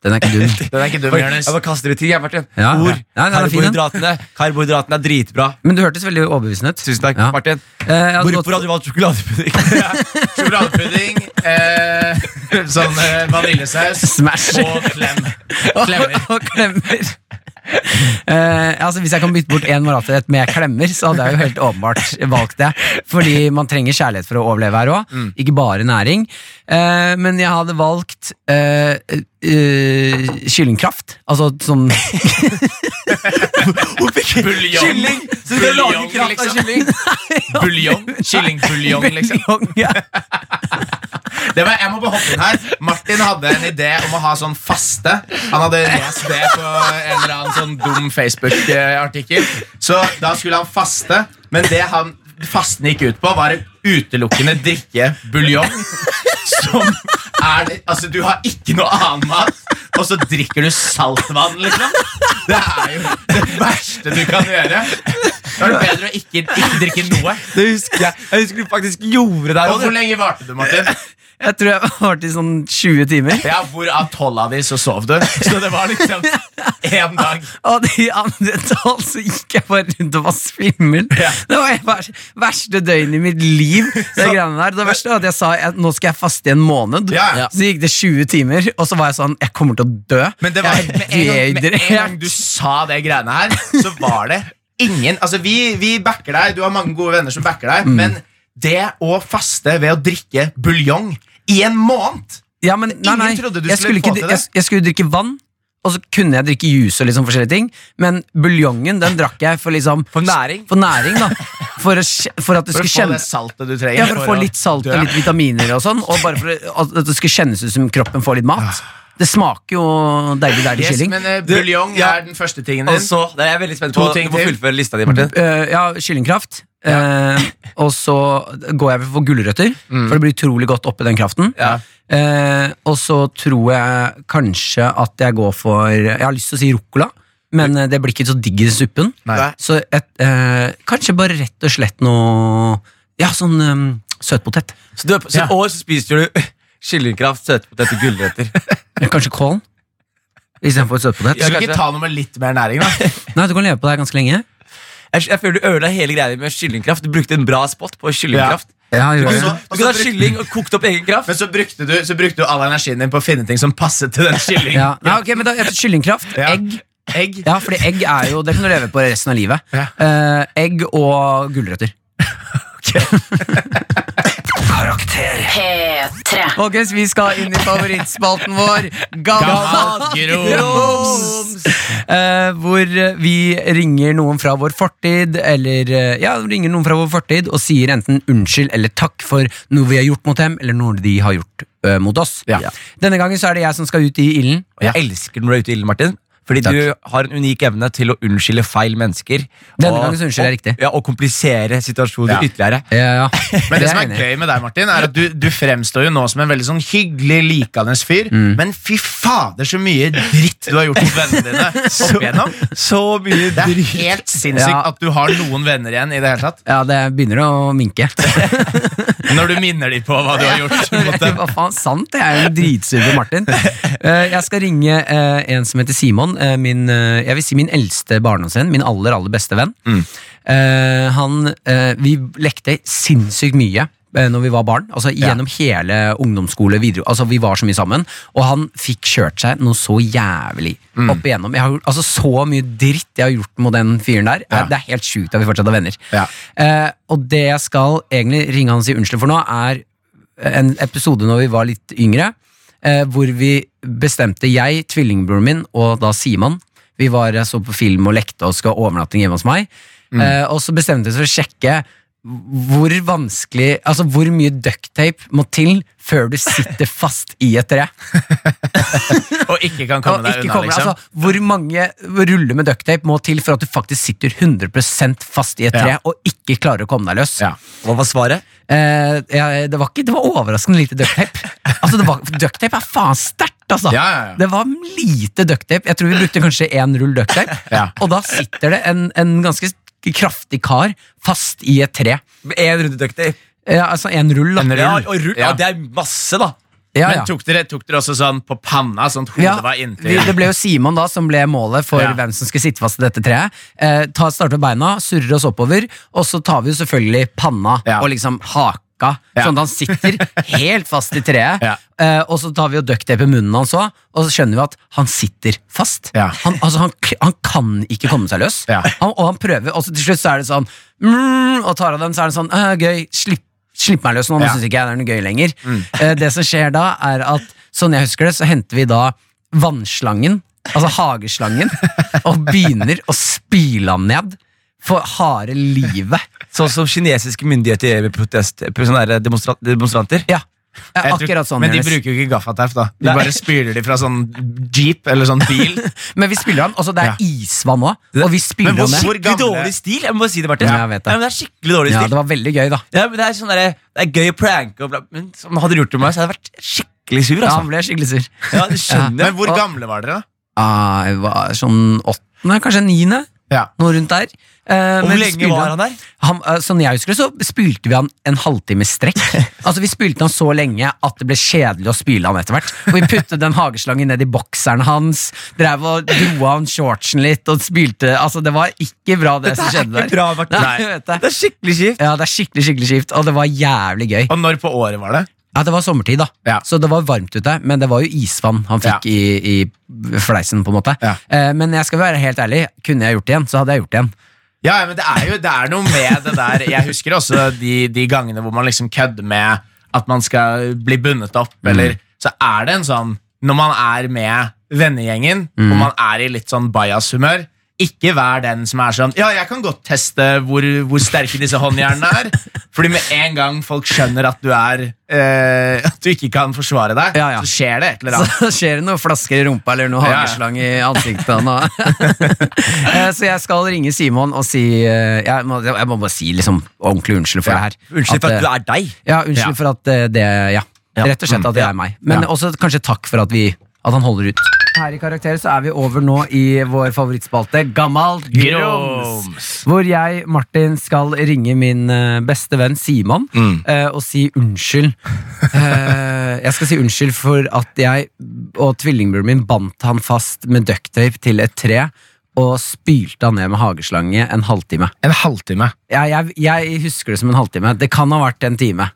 Den er ikke dum. Den er ikke dum, Oi, Jonis. Jeg bare kaster ut ting, jeg, Martin. Ja, ja. Ord. Nei, den er fin, den. karbohydratene, karbohydratene er dritbra. Men du hørtes veldig overbevisende ut. Tusen takk, Ja. Martin. Eh, jeg hadde Hvorfor gått- hadde du valgt sjokoladepudding? Sjokoladepudding, eh, sånn eh, vaniljesaus Smash. og klem. Klemmer. og klemmer. Eh, altså Hvis jeg kan bytte bort én maratret med klemmer, så hadde jeg jo helt åpenbart valgt det. Fordi man trenger kjærlighet for å overleve her òg, Mm. ikke bare næring. Eh, men jeg hadde valgt eh, eh, kyllingkraft. Altså sånn Buljong. Kylling! Så du lager Buljong, kraft av liksom. kylling? Buljong. Kyllingbuljong, liksom. ja. Det var, jeg må bare hoppe inn her Martin hadde en idé om å ha sånn faste. Han hadde lest det på en eller annen sånn dum Facebook-artikkel. Så da skulle han faste, men det han fasten gikk ut på, var å utelukkende drikke buljong. Som er det Altså, du har ikke noe annen mat, og så drikker du saltvann, liksom. Det er jo det verste du kan gjøre. Da er det bedre å ikke, ikke drikke noe. Det husker jeg. Jeg husker du faktisk gjorde det. Og hvor Ronny. lenge varte du, Martin? Jeg tror jeg var til sånn 20 timer. Ja, Hvorav tolv av de så sov du. Så det var liksom én dag. Og de andre tolv så gikk jeg bare rundt og var svimmel. Ja. Det var det vers- verste døgnet i mitt liv. Det, greiene der. det verste var at jeg sa at nå skal jeg faste i en måned. Ja, ja. Så gikk det 20 timer, og så var jeg sånn Jeg kommer til å dø. Men det var jeg med en, gang, med en gang dehydrert. du sa det greiene her, så var det ingen Altså, vi, vi backer deg. Du har mange gode venner som backer Mm. deg, men det å faste ved å drikke buljong i en måned Ja, men, nei, nei, trodde du jeg skulle ikke få til dri- det. Jeg, jeg skulle drikke vann, og så kunne jeg drikke juice og liksom forskjellige ting, men buljongen den drakk jeg for liksom For næring. For næring, da. For, å, kje- for at det skulle for å få det kjennes saltet du trenger. Ja, for å få litt salt dø. og litt vitaminer og sånn. Og bare for at det skal kjennes ut som kroppen får litt mat. Det smaker jo deilig, deilig Yes, kylling. Altså- men eh, Du- buljong ja. er den første tingen Og din. så, det er jeg veldig spent på. To ting Du må til. fullføre lista di, Martin. Eh, ja, kyllingkraft. Eh, og så går jeg for gulrøtter, for det blir utrolig godt oppi den kraften. Ja. Eh, og så tror jeg kanskje at jeg går for Jeg har lyst til å si ruccola, men eh, det blir ikke så digg i suppen. Nei. Så et, eh, kanskje bare rett og slett noe Ja, sånn eh, søtpotet. Så, du, er på- så i Ja. år så spiser du kyllingkraft, søtpotet og gulrøtter. Kanskje kålen. istedenfor søtpotet? Skal ikke ta noe med litt mer næring, da? Nei, du kan leve på det her ganske lenge. Jeg, jeg føler du ødela hele greia med kyllingkraft. Du brukte en bra spot på kyllingkraft. Ja, Du gjør det. kunne Og så- du kunne ha kylling og kokt opp egen kraft. Men så brukte, du, så brukte du all energien din på å finne ting som passet til den kyllingen. Ja. Nei, ok, men da, jeg tror Kyllingkraft, Ja. egg Egg. Ja, fordi egg er jo, det kan du leve på resten av livet. Ja. Eh, egg og gulrøtter. Karakter P3. Folkens, vi skal inn i favorittspalten vår, Gammalt grums! Eh, hvor eh, vi ringer noen fra vår fortid, eller eh, ja, ringer noen fra vår fortid og sier enten unnskyld eller takk for noe vi har gjort mot dem, eller noe de har gjort eh, mot oss. Ja. Denne gangen så er det jeg som skal ut i ilden. Og jeg elsker når du er ute i ilden, Martin. Fordi Takk. du har en unik evne til å unnskylde feil mennesker. Denne og- gangen så unnskylder jeg og- riktig. Ja, Og komplisere Ja. situasjoner ytterligere. Ja, ja. Men det som jeg er enig i. gøy med deg, Martin, er at du, du fremstår jo nå som en veldig sånn hyggelig, likende fyr. Mm. Men fy fader, så mye dritt du har gjort mot vennene dine. opp igjennom. Så mye Det er helt sinnssykt Ja. at du har noen venner igjen i det hele tatt. Ja, det begynner å minke. Når du minner dem på hva du har gjort. mot dem. Hva faen, sant? Jeg er jo en dritsur på Martin. Eh, jeg skal ringe eh, en som heter Simon. eh, min, eh, jeg vil si min eldste barndomsvenn. Min aller, aller beste venn. Mm. Eh, han, eh, vi lekte sinnssykt mye eh, når vi var barn. Altså Gjennom hele ungdomsskole. Videre, altså Vi var så mye sammen. Og han fikk kjørt seg noe så jævlig Mm. opp igjennom. Jeg har, gjort- altså Så mye dritt jeg har gjort mot den fyren der. Eh, Ja. Det er helt sjukt at vi fortsatt er venner. Ja. Eh, og det jeg skal egentlig ringe han og si unnskyld for nå, er en episode når vi var litt yngre, eh, hvor vi bestemte jeg, tvillingbroren min og da Simon Vi var, jeg så på film og lekte og skal ha overnatting hjemme hos meg. Mm. Eh, og så bestemte vi oss for å sjekke hvor vanskelig Altså hvor mye ducktape må til før du sitter fast i et tre. Og ikke kan Og komme deg ikke unna, kommer, liksom. altså, hvor mange ruller med ducktape må til for at du faktisk sitter 100 fast i et tre Ja. og ikke klarer å komme deg løs? Ja. Hva var svaret? Eh, ja, det, var ikke, det var overraskende lite ducktape. Altså, det var- ducktape er faen sterkt, altså! Ja, ja, ja. Det var lite ducktape. Jeg tror vi brukte kanskje én rull ducktape. Ja. Og da sitter det en, en ganske kraftig kar fast i et tre. Én runde ducktape. Ja, altså én rull, da. En rull. Ja, og rull. Ja. Ja. det er masse, da. Ja, ja. Men tok dere, tok dere også sånn på panna, sånn at hodet Ja, var vi, inntil? det ble jo Simon da som ble målet for Ja. hvem som skulle sitte fast i dette treet. Eh, ta, starte med beina, surrer oss oppover, og så tar vi jo selvfølgelig panna Ja. og liksom haka. Ja. Sånn at han sitter helt fast i treet. Ja. Eh, og så tar vi og ducktaper munnen hans òg, og så skjønner vi at han sitter fast. Ja. Han, altså, han, k- han kan ikke komme seg løs. Ja. Han, og han prøver, og så til slutt så er det sånn mm, Og tar av den, så er det sånn «Øh, Gøy, slipp, slipp meg løs nå, nå Ja. synes ikke jeg det er noe gøy lenger. Mm. Eh, det som skjer da, er at sånn jeg husker det, så henter vi da vannslangen, altså hageslangen, og begynner å spyle han ned for harde livet. Sånn som kinesiske myndigheter gjør ved protest, sånne der demonstra demonstranter. Ja, eh, Jeg tror- akkurat sånn. men de Jonis. bruker jo ikke gaffateip, da. De Nei. bare spyler de fra sånn jeep eller sånn bil. Men vi spiller han, og så det er Ja. isvann isvann òg, og vi spyler Men hvor han ned. stor- Skikkelig gamle- dårlig stil. Jeg må bare si det, Martin. Ja, jeg vet det. Nei, men det er skikkelig dårlig Ja, stil. det var veldig gøy, da. Ja, men det, er sånn derre- det er gøy å pranke, og bla, men som hadde du gjort det med meg, så hadde jeg vært skikkelig sur. Ja, han altså. ble skikkelig sur. Ja, du skjønner Men hvor Og- gamle var dere, da? Ah, jeg var sånn åttende, kanskje niende. Ja. Noe rundt der. Eh, Og men Hvor vi lenge spyler var han der? Han, eh, sånn jeg husker det, så spylte vi han en halvtime i strekk. altså Vi spylte han så lenge at det ble kjedelig å spyle han etter hvert. Og Vi puttet den hageslangen ned i bokseren hans, drev og dro av han shortsen litt og spylte Altså Det var ikke bra, det som Dette er skjedde ikke der. bra, Martin. Nei, jeg vet det. Det er skikkelig kjipt. Ja, Det er skikkelig skikkelig kjipt, og det var jævlig gøy. Og når på året var det? Ja, Det var sommertid, da, Ja. så det var varmt ute, men det var jo isvann han fikk i, i fleisen, på en måte. Ja. Eh, men jeg skal være helt ærlig, kunne jeg gjort det igjen, så hadde jeg gjort det igjen. Ja, ja, men det er jo det er noe med det der. Jeg husker også de, de gangene hvor man liksom kødder med at man skal bli bundet opp, eller Så er det en sånn Når man er med vennegjengen, og man er i litt sånn bajas-humør ikke vær den som er sånn Ja, jeg kan godt teste hvor, hvor sterke disse håndjernene er. Fordi med en gang folk skjønner at du er eh, At du ikke kan forsvare deg, Ja, ja. så skjer det et eller annet. Så skjer det noen flasker i rumpa eller noe Ja, ja. hageslang i ansiktet. han har. Eh, så jeg skal ringe Simon og si eh, Jeg må, jeg må bare si liksom ordentlig unnskyld for det her. Unnskyld for at du eh, er deg. Ja, unnskyld Ja. for at eh, det Ja. Ja. Rett og slett at det ja. er meg. Men Ja. også kanskje takk for at vi At han holder ut. Her i Karakter så er vi over nå i vår favorittspalte Gammal grums. Hvor jeg, Martin, skal ringe min eh, beste venn Simon Mm. eh, og si unnskyld. Eh, jeg skal si unnskyld for at jeg og tvillingbroren min bandt han fast med ducktape til et tre og spylte han ned med hageslange en halvtime. En halvtime. Jeg, jeg, jeg husker det som en halvtime. Det kan ha vært en time.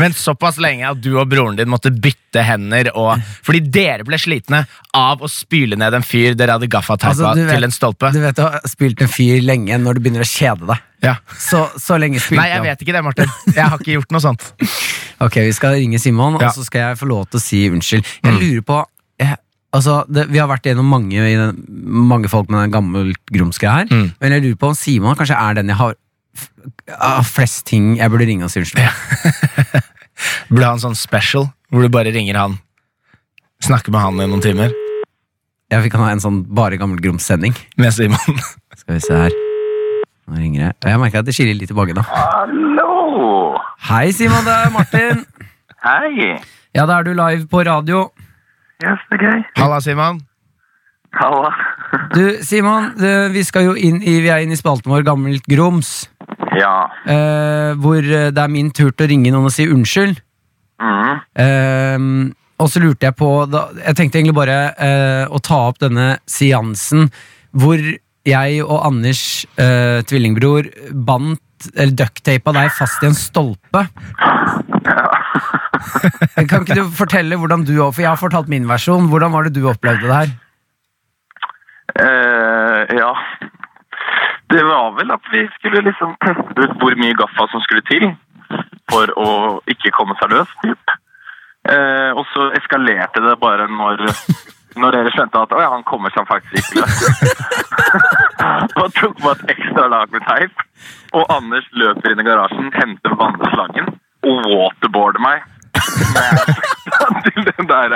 Men såpass lenge at du og broren din måtte bytte hender og, Mm. fordi dere ble slitne av å spyle ned en fyr dere hadde gaffateipa Altså, du vet- til en stolpe. Du vet, du har spilt en fyr lenge når du begynner å kjede deg. Ja. Så, så lenge spilte Nei, jeg han. vet ikke det, Martin. Jeg har ikke gjort noe sånt. Ok, vi skal ringe Simon, Ja. Mm. og så skal jeg få lov til å si unnskyld. Jeg lurer på jeg, altså, det, Vi har vært gjennom mange, i den, mange folk med den gammelt grumske her, Mm. men jeg lurer på om Simon kanskje er den jeg har f- av flest ting jeg burde ringe og si unnskyld for. Burde ha en sånn special hvor du bare ringer han. Snakker med han i noen timer. Jeg fikk ha en sånn bare gammel grums-sending. Med Simon. Skal vi se her. Nå ringer jeg. Jeg merker at det skiller litt i bagen. da. Hallo! Hei, Simon. Det er Martin. Hei! Ja, da er du live på radio. Yes, det er gøy. Halla, Simon. Halla. Du, Simon, eh, vi, skal jo inn i, vi er inne i spalten vår Gammelt grums. Ja. eh, hvor eh, det er min tur til å ringe noen og si unnskyld. Mm. Eh, og så lurte jeg på da, Jeg tenkte egentlig bare eh, å ta opp denne seansen hvor jeg og Anders, eh, tvillingbror, bandt eller ducktapa deg fast i en stolpe. kan ikke du fortelle hvordan du For jeg har fortalt min versjon. Hvordan var det du opplevde det her? Eh, ja. Det var vel at vi skulle liksom teste ut hvor mye gaffa som skulle til for å ikke komme seg løs, typ. Eh, og så eskalerte det bare når, når dere skjønte at «Å ja, han kommer seg faktisk ikke løs. og tok på et ekstra lag med teip. Og Anders løper inn i garasjen, henter vannslangen og waterboarder meg. Med- til den der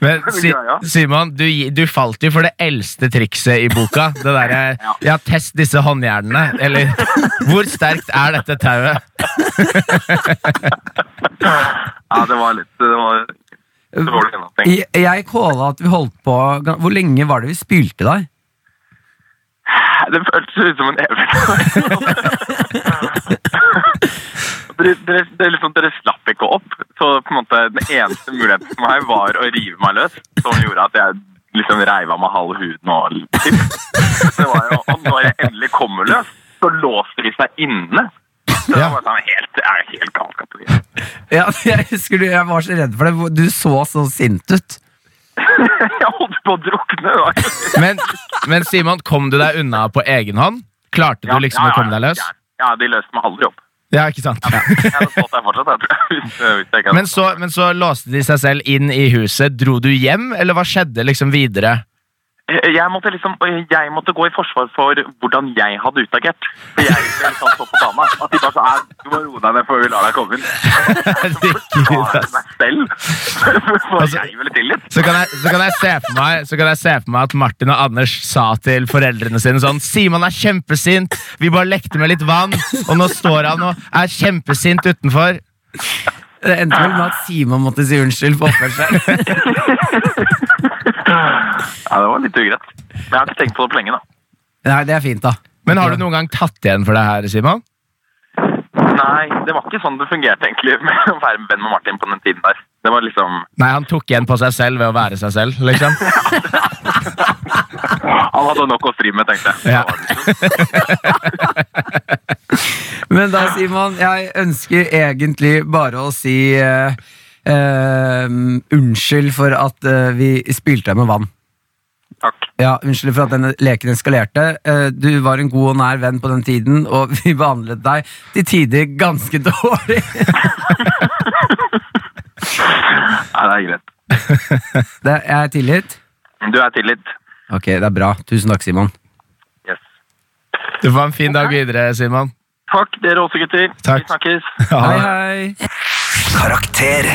Men si, greia. Simon, du, gi- du falt jo for det eldste trikset i boka. Det derre Ja, test disse håndjernene. Eller hvor sterkt er dette tauet? Ja, det var litt Det var det var dårlig gjennomtenkt. Jeg, jeg kåla at vi holdt på ga- Hvor lenge var det vi spilte deg? Det føltes ut som en evighet. dere, dere, det er liksom, dere slapp ikke opp. Så på en måte, den eneste muligheten for meg var å rive meg løs. Som gjorde at jeg liksom reiv av meg halve huden og typ. Det var jo, Og når jeg endelig kommer løs, så låser de seg inne. Så det var sånn helt, det er helt galskap. Ja, jeg husker du, jeg var så redd for det. hvor- Du så så sint ut. Jeg holdt på å drukne. Da. Men, men Simon, kom du deg unna på egen hånd? Klarte du liksom å komme deg løs? Ja, ja, de løste meg aldri opp. Ja, ikke sant? Jeg hadde stått der fortsatt, jeg tror jeg. Hvis, hvis jeg ikke hadde Men så, men så låste de seg selv inn i huset. Dro du hjem, eller hva skjedde liksom videre? Jeg måtte, liksom, jeg måtte gå i forsvar for hvordan jeg hadde utagert. For jeg ble liksom så på dama at de bare sa "Nei, du må roe deg ned før vi lar deg komme inn. Herregud, Bare ass. meg selv. For Altså- jeg ville tillit. Så kan, jeg, så, kan jeg se for meg, så kan jeg se for meg at Martin og Anders sa til foreldrene sine sånn Simon er kjempesint, vi bare lekte med litt vann, og nå står han og er kjempesint utenfor. Det endte vel med at Simon måtte si unnskyld for oppførselen. Ja, det var litt ugreit. Men jeg har ikke tenkt på det på lenge, da. Nei, det er fint, da. Men har du noen gang tatt igjen for det her, Simon? Nei, det var ikke sånn det fungerte egentlig med å være venn med Martin på den tiden der. Det var liksom Nei, han tok igjen på seg selv ved å være seg selv, liksom. Han hadde nok å stri med, tenkte jeg. Ja. Da var det liksom- Men da, Simon, jeg ønsker egentlig bare å si eh, eh, unnskyld for at eh, vi spilte deg med vann. Takk. Ja, Unnskyld for at denne leken eskalerte. Eh, Du var en god og nær venn på den tiden, og vi behandlet deg til tider ganske dårlig. Nei, det er greit. Det er tilgitt? Du er tillit. Ok, det er bra. Tusen takk, Simon. Yes. Du får ha en fin dag videre, Simon. Takk, dere også, gutter. Takk. Vi snakkes. Ha Hei, det. hei. Karakter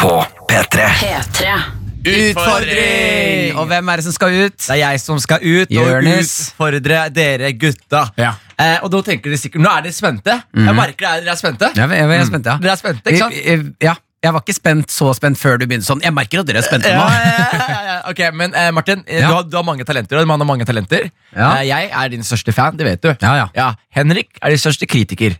på P3. P3. Utfordring! Og hvem er det som skal ut? Det er jeg som skal ut og Jonis. utfordre dere gutta. Ja. Eh, og da tenker dere sikkert Nå er dere spente. Jeg merker det er, dere er spente. Jeg, jeg, jeg Mm. er spent, ja. Dere er spente, ikke sant? Vi- vi- Ja, Jeg var ikke spent så spent før du begynte sånn. Jeg merker at dere er spente nå. Ok, men eh, Martin, eh, Ja. du, har, du har mange talenter, og man har mange talenter. Ja. Eh, jeg er din største fan, det vet du. Ja, Mm. ja. Henrik er din største kritiker.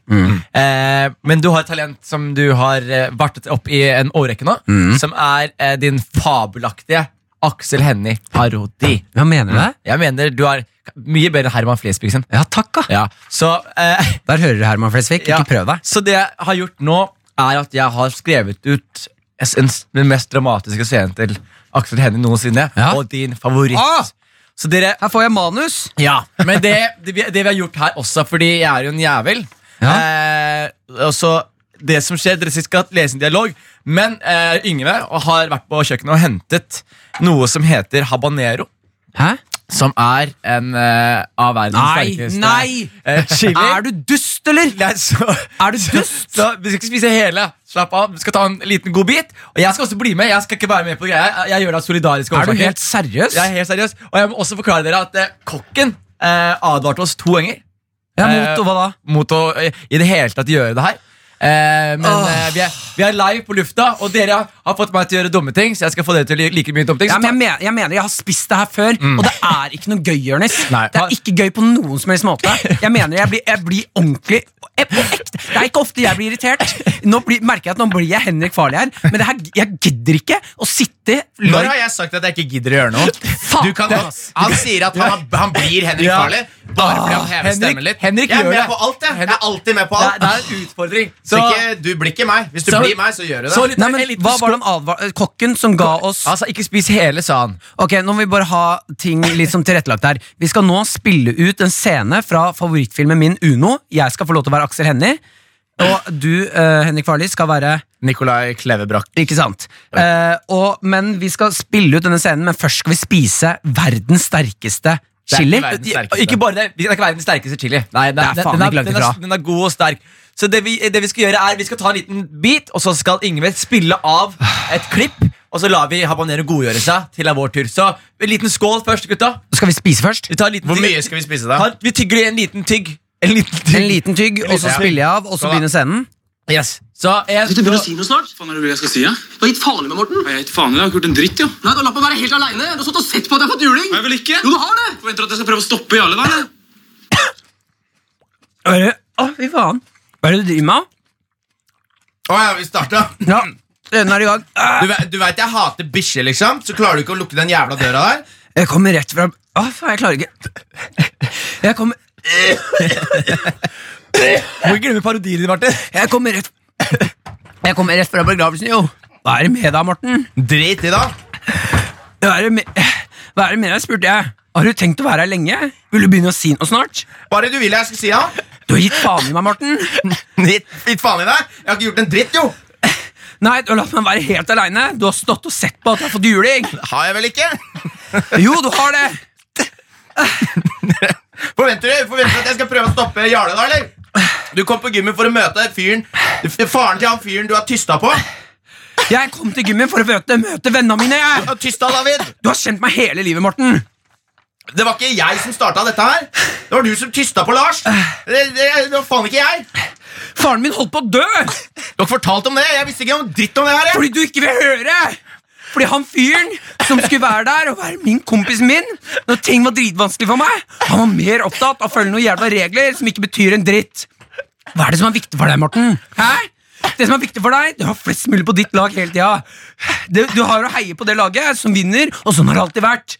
Eh, men du har et talent som du har eh, vartet opp i en årrekke nå, Mm. som er eh, din fabelaktige Aksel Hennie-parodi. Hva mener du? Jeg mener du er mye bedre enn Herman Flesvigsen. Ja, takk, da. Ja, så... Eh, Der hører du, Herman Flesvig. Ja. Ikke prøv deg. Så det jeg har gjort nå, er at jeg har skrevet ut es- en, s- den mest dramatiske scenen til Aksel Hennie noensinne, Ja. og din favoritt. Ah! Så dere Her får jeg manus. Ja, men det, det, vi, det vi har gjort her også, fordi jeg er jo en jævel eh, Og så det som skjer, dere skal lese en dialog Men eh, Yngve har vært på kjøkkenet og hentet noe som heter habanero Hæ? Som er en eh, av verdens Nei, sterkeste nei! eh, chili Er du dust, eller? Nei, så, Er du dust? så vi skal ikke spise hele Slapp av, vi skal ta en liten god bit Og jeg skal også bli med, jeg skal ikke være med på greia Jeg, jeg gjør det av solidariske Er du årsaker helt seriøs? Jeg er helt seriøs Og jeg må også forklare dere at eh, kokken eh, advarte oss to ganger Ja, mot og hva da? mot å eh, i det hele tatt gjøre det her. Eh, men Åh. eh, vi, er, vi er live på lufta, og dere har fått meg til å gjøre dumme ting. Så jeg skal få dere til å gjøre like mye dumme ting. Ja, Så men jeg, mener, jeg mener jeg har spist det her før, og det er ikke noe gøy, Jørnis. Mm. Nei. Det er ikke gøy på noen som helst måte. Jeg mener jeg blir, jeg blir ordentlig jeg, på ekte. Det er ikke ofte jeg blir irritert. Nå blir, merker jeg at nå blir jeg Henrik Farley her, men det her, jeg gidder ikke å sitte Når har jeg sagt at jeg ikke gidder å gjøre noe? Faen, Du kan, ass. han sier at han, han blir Henrik Ja. Ah, Farley bare fordi han hever Henrik- stemmen litt. Henrik jeg gjør er med det. på alt, jeg. Jeg er alltid med på ta- det, alt. er, det er en utfordring. Så Så, ikke, du blir ikke meg. Hvis du Så- blir meg, så gjør du det. så litt, Nei, men en liten Hva var skål. den advar kokken som ga oss Altså, ikke spis hele, sa han. Ok, Nå må vi bare ha ting litt som tilrettelagt her. Vi skal nå spille ut en scene fra favorittfilmen min Uno. Jeg skal få lov til å være Aksel Hennie. Og du, eh, Henrik Farley, skal være Nikolai Klevebrok. Ikke sant? Eh, og, men vi skal spille ut denne scenen, men først skal vi spise verdens sterkeste er ikke chili. verdens Den sterkeste. Ikke bare det, vi kan ikke være den sterkeste chili. Nei, den, Det er faen den, ikke langt den, er, ifra. den er god og sterk. Så det vi, det vi skal gjøre er Vi skal ta en liten bit, og så skal Ingve spille av et klipp. Og så lar vi habanero godgjøre seg til det er vår tur. Så en liten skål først, gutta. Skal vi spise først? Vi tar en liten Hvor tygg. mye skal vi spise, da? Ta- Vi tygger i en liten tygg. En liten tygg. En liten tygg, og så Ja. spiller jeg av, og så Skål da. begynner scenen. Yes. Så jeg, Du begynner å si noe snart. Faen er det jeg skal si, ja? Du har gitt faen i meg, Morten. Jeg har gitt faen i deg, jeg har ikke gjort en dritt, jo. Nei, Du har latt meg være helt aleine. Du har stått og sett på at jeg har fått juling. Nei, vel ikke. Jo, du har det. Forventer at jeg skal prøve å stoppe Jarle der? Hva er det? Å, fy faen. Hva er det du driver med? Å ja, vi starta. Ja, den er i gang. Du, ve- du veit jeg hater bikkjer, liksom. Så klarer du ikke å lukke den jævla døra der? Jeg kommer rett fra Å, faen, jeg klarer ikke. Jeg kommer, må ikke glemme parodien din, Martin. jeg kommer rett Jeg kommer rett fra begravelsen, jo. Hva er det med deg, Morten? Drit i det. Hva er det med, hva er det med deg, spurte jeg. Har du tenkt å være her lenge? Vil du begynne å si noe snart? Bare du vil jeg skal si ja. Du har gitt faen i meg, Morten. Gitt gitt faen i deg. Jeg har ikke gjort en dritt, jo. Nei, du har latt meg være helt aleine. Du har stått og sett på at jeg har fått juling. Har jeg vel ikke? Jo, du har det. Forventer du forventer du at jeg skal prøve å stoppe Jarle, da, eller? Du kom på gymmet for å møte fyren faren til han fyren du har tysta på. Jeg kom til gymmen for å møte, møte vennene mine. Du jeg. har tysta, David. Du har kjent meg hele livet, Morten. Det var ikke jeg som starta dette her. Det var du som tysta på Lars. Det, det, det var faen ikke jeg. Du Faren min holdt på å dø har ikke fortalt om det. Jeg visste ikke om dritt om det her. jeg. fordi du ikke vil høre. Fordi han fyren som skulle være der og være min kompisen min når ting var dritvanskelig for meg, han var mer opptatt av å følge noen jævla regler som ikke betyr en dritt. Hva er det som er viktig for deg, Morten? Hæ? Det som er viktig for deg, det er å ha flest mulig på ditt lag hele tida. Du, du har å heie på det laget som vinner, og sånn har det alltid vært.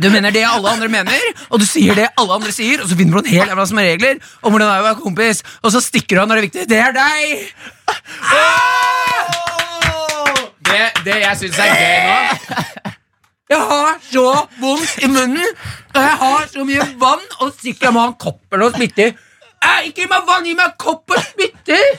Du mener det alle andre mener, og du sier det alle andre sier, og så finner du en hel jævla som har regler om hvordan det er å være kompis, og så stikker du av når det er viktig. Det er deg! Det, det jeg syns er gøy nå Jeg har så vondt i munnen, og jeg har så mye vann, og sikkert jeg må ha en kopp eller noe smitter. Eh, Ikke gi meg vann, gi meg en kopp og smitter!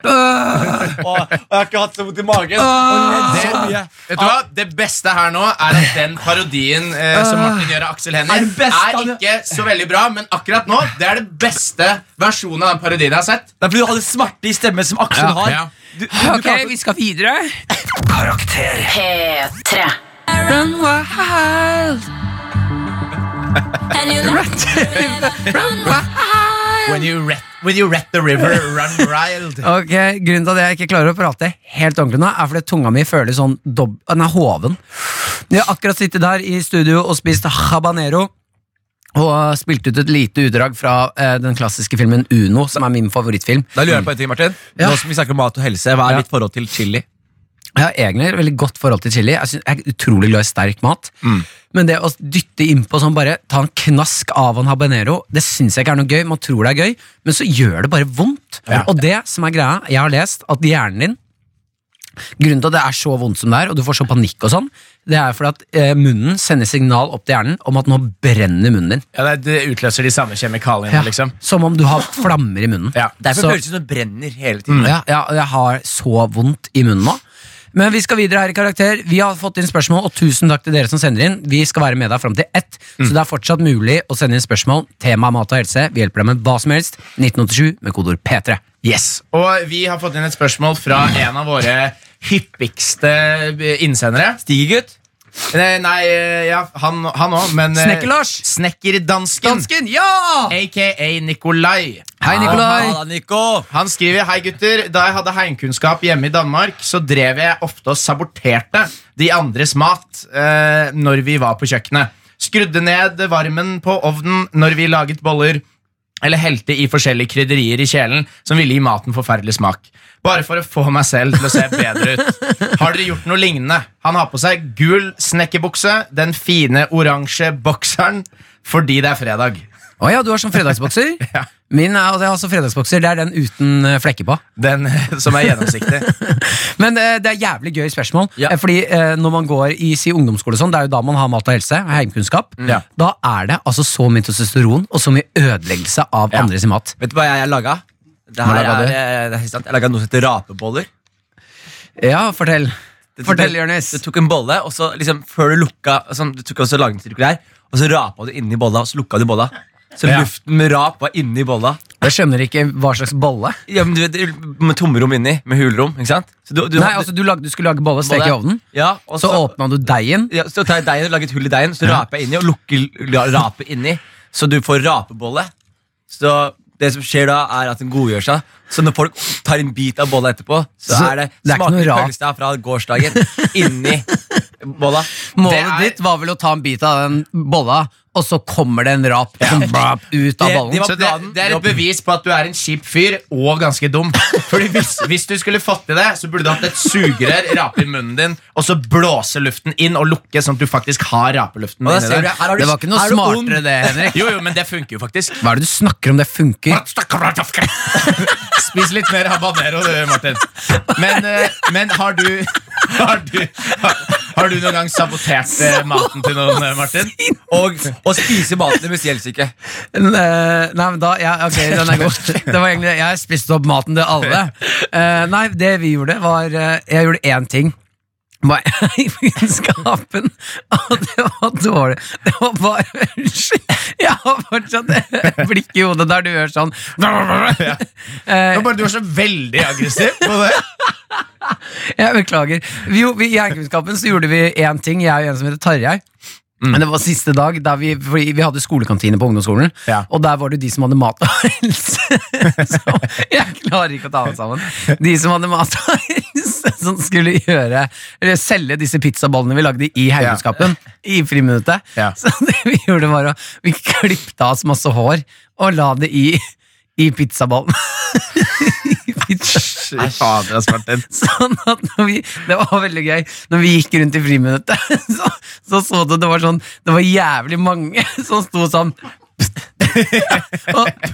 Og, og jeg har ikke hatt så vondt i magen. Og så mye. Vet du hva? Det beste her nå er at den parodien eh, som Martin gjør av Aksel Hennie, Er det beste er han- ikke så veldig bra, men akkurat nå det er det beste versjonen av den parodien jeg har sett. Det sånn er fordi du hadde smerte i stemmen som Aksel Ja, har. ja. Du, du, Ok, klarte- vi skal videre. Karakter. P3. Run wild, And you know, run wild. When you ret, when you ret the river, run wild. Ok, Grunnen til at jeg ikke klarer å prate helt ordentlig nå, er fordi tunga mi føles sånn dob... Den er hoven. Jeg har akkurat sittet der i studio og spist habanero. Og spilt ut et lite utdrag fra eh, den klassiske filmen Uno, som er min favorittfilm. Da lurer jeg på en ting, Martin. Ja. Nå som vi snakker om mat og helse, hva er ditt forhold til chili? Jeg har egentlig et veldig godt forhold til chili. Jeg, synes, jeg er utrolig glad i sterk mat. Mm. Men det å dytte innpå sånn bare ta en knask av en habanero, det syns jeg ikke er noe gøy. Man tror det er gøy, men så gjør det bare vondt. Og det som er greia, jeg har lest at hjernen din Grunnen til at det er så vondt som det er, og du får så panikk og sånn, det er fordi at eh, munnen sender signal opp til hjernen om at nå brenner munnen din. Ja, det, det utløser de samme kjemikaliene, Ja. liksom. Som om du har flammer i munnen. Ja. Så- Derfor føles det som det brenner hele tiden. ja, ja, og jeg har så vondt i munnen nå. Men vi skal videre her i karakter. Vi har fått inn spørsmål, og tusen takk til dere som sender inn. Vi skal være med deg fram til ett, Mm. så det er fortsatt mulig å sende inn spørsmål. Tema mat og helse. Vi hjelper deg med hva som helst. 1987 med kodeord P3. Yes, Og vi har fått inn et spørsmål fra en av våre hyppigste eh, innsendere. Stigegutt? Eh, Nei, eh, ja, han òg, men eh, Snekker-Lars! Snekkerdansken, Dansken, ja! aka Nikolai. Hei, Nikolai. Halla, Nico! Han skriver Hei gutter, da jeg hadde heimkunnskap hjemme i Danmark, så drev jeg ofte og saboterte de andres mat eh, når vi var på kjøkkenet. Skrudde ned varmen på ovnen når vi laget boller, eller helte i forskjellige krydderier i kjelen som ville gi maten forferdelig smak. Bare for å få meg selv til å se bedre ut. Har dere gjort noe lignende? Han har på seg gul snekkerbukse, den fine oransje bokseren, fordi det er fredag. Å ja, du har sånn fredagsbokser? Ja. Min er, altså, jeg har også fredagsbokser. Det er den uten eh, flekker på. Den eh, som er gjennomsiktig. Men eh, det er jævlig gøy spørsmål. Ja. Eh, Fordi eh, når man går i si ungdomsskole, og sånn, det er jo da man har mat og helse, heimkunnskap, Ja. da er det altså så mye testosteron og så mye ødeleggelse av andres mat. Vet du hva jeg, jeg laga? Det Hva her laga er, du? eh, det er helt sant. Jeg laga noe som heter rapeboller. Ja, fortell. Det- Fortell, det- Jonis. Du tok en bolle, og så liksom før du lukka sånn, Du tok også der, og så rapa du inni bolla, og så lukka du bolla. Så Ja. luften med rap var inni bolla. Jeg skjønner ikke hva slags bolle. Ja, men du vet, Med tomrom inni, med hulrom. ikke sant? Så du, du, Nei, altså Du, lagde, du skulle lage bolle, steke i ovnen, Ja, og så åpna du deigen. ja, så tar jeg deigen og lager et hull i deigen, så raper jeg inni og lukker la- rapet inni. Så du får rapebolle. Så det som skjer da, er at den godgjør seg. Så når folk tar en bit av bolla etterpå, så, Så er det, det er ikke noe smaker rap. pølsa fra gårsdagen inni bolla. Målet Det er- ditt var vel å ta en bit av den bolla, og så kommer det en rap som brap, ut av Det- bollen. det var Så det, planen. det er et bevis på at du er en kjip fyr og ganske dum. Fordi hvis, hvis du skulle fått til det, så burde du hatt et sugerør rape i munnen din, og så blåse luften inn og lukke, sånn at du faktisk har rapeluften Og da inni ser du, der. her har du- Det var ikke noe er du ond? smartere det, Henrik. Jo, jo, men det funker jo faktisk. Hva er det du snakker om? Det funker. Spis litt mer habanero, du, Martin. Men, eh, men har du har du, har du noen gang sabotert eh, maten til noen, eh, Martin? Og, og spise maten deres gjeldssyke. Men, eh, nei, men da ja, Ok, den er god. Det var egentlig, jeg spiste opp maten til alle. Eh, nei, det vi gjorde, var eh, Jeg gjorde én ting. Bare i vitenskapen. Og det var dårlig. Det var bare Unnskyld. Jeg har fortsatt et blikk i hodet der du gjør sånn. Eh, Nå bare Du er så veldig aggressiv på det. Jeg beklager. Vi, jo- vi, I Heimkunnskapen så gjorde vi én ting, jeg og en som heter Tarjei. Mm. Men det var siste dag, der vi, fordi vi hadde skolekantine på ungdomsskolen. Ja. Og der var det de som hadde mat og helse. Så jeg klarer ikke å ta meg sammen. De som hadde mat og helse, som skulle gjøre Eller selge disse pizzaballene vi lagde i Heimkunnskapen. I friminuttet. Ja. Så det vi gjorde, var å Vi klippet av oss masse hår og la det i, i pizzaballen. I pizza. Fy fader, ass, Martin. Sånn at når vi, Det var veldig gøy. Når vi gikk rundt i friminuttet, så så, så du det var sånn Det var jævlig mange som sto sånn og,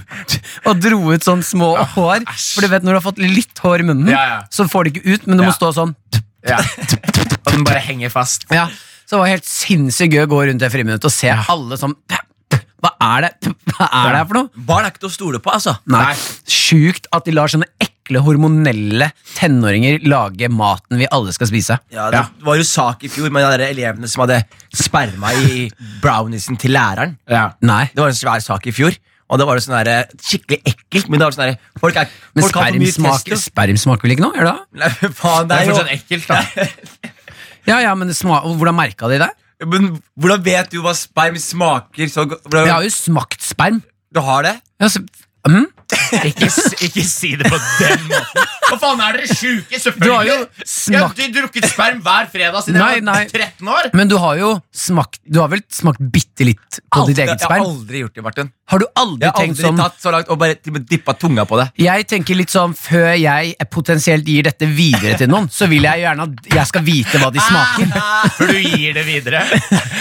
og dro ut sånn små hår. For du vet når du har fått litt hår i munnen, Ja, ja. så får det ikke ut, men du Ja. må stå sånn. Ja. Og den bare henger fast. Ja. Så det var helt sinnssykt gøy å gå rundt i friminuttet og se alle sånn Hva er det Hva er det her for noe? Barn er ikke til å stole på, altså. Nei. Sjukt at de lar sånne ekle hormonelle tenåringer lage maten vi alle skal spise. Ja, det var jo sak i fjor med de der elevene som hadde sperma i browniesen til læreren. Ja. Nei. Det var en svær sak i fjor. Og det var jo sånn der, eh, skikkelig ekkelt. Men det var sånn der, folk er, Men folk har for sperm mye smaker, testo. sperm smaker vel ikke noe? Gjør det? Nei, men Det faen, det er er fortsatt jo ekkelt, da. Ja, ja, men det sma og Hvordan merka de det? Men hvordan vet du hva sperm smaker så godt? Hvordan- Jeg har jo smakt sperm. Du har det? Ja, så, mm. Ikke, s- ikke si det på den måten. Hva faen er dere sjuke? Du har jo Selvfølgelig. Jeg har smakt ikke drukket sperm hver fredag siden Nei, jeg var nei. 13 år. Men du har jo smakt Du har vel smakt bitte litt på ditt eget jeg har sperm? aldri gjort det, Martin. Har du aldri Jeg har tenkt aldri sånn tatt så langt og bare dippa tunga på det. Jeg tenker litt sånn Før jeg potensielt gir dette videre til noen, så vil jeg gjerne at jeg skal vite hva de Ah. smaker. For du gir det videre.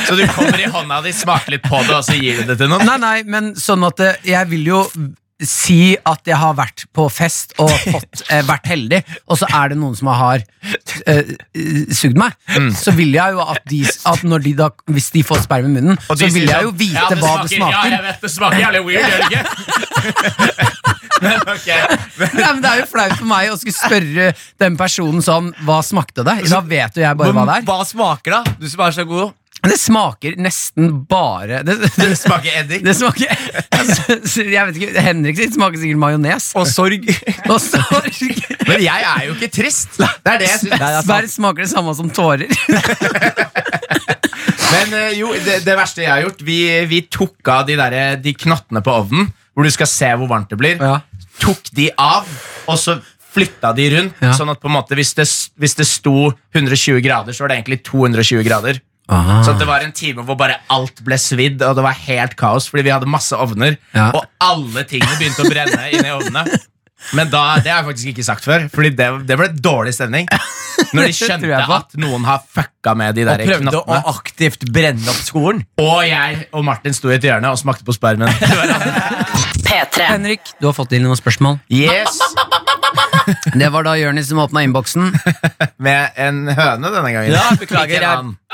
Så du kommer i hånda di, smaker litt på det, og så gir du det til noen. Nei, nei, men sånn at eh, jeg vil jo si at jeg har vært på fest og fått, eh, vært heldig, og så er det noen som har eh, sugd meg, Mm. så vil jeg jo at, de, at når de da, hvis de får sperm i munnen, Og så de vil sier jeg jo sånn, vite ja, hva det Ja, smaker. jeg vet det smaker jævlig weird, gjør det ikke? Men ok, Nei, men Det er jo flaut for meg å skulle spørre den personen sånn Hva smakte det? Da vet jo jeg bare hva det er. Hva smaker, da? Du som er så god. Men Det smaker nesten bare Det, det det, smaker eddik. det smaker Jeg vet ikke, Henrik sitt smaker sikkert majones. Og sorg. Og sorg. Men jeg er jo ikke trist. Det er det jeg synes. Sverd smaker det samme som tårer. Men eh, jo, det, det verste jeg har gjort Vi, vi tok av de, der, eh, de knottene på ovnen Hvor du skal se hvor varmt det blir Ja. Tok de av Og så flytta de rundt Ja. Sånn at på en måte hvis det, s- hvis det sto 120 grader Så var det egentlig 220 grader Så at det var en time hvor bare alt ble svidd Og det var helt kaos Fordi vi hadde masse ovner Ja. Og alle tingene begynte å brenne inn i ovnene men da, det har jeg faktisk ikke sagt før Fordi det, det ble dårlig stemning Når de Det tror jeg skjønte på. at noen har fucka med de der Og prøvde knottene å aktivt brenne opp skolen. og jeg og Martin sto i et hjørne og smakte på spermen. P3. Henrik, du har fått inn noen spørsmål. Yes, Det var da Jonis som åpna innboksen. Med en høne denne gangen. Ja, beklager, Ikke en jeg- annen.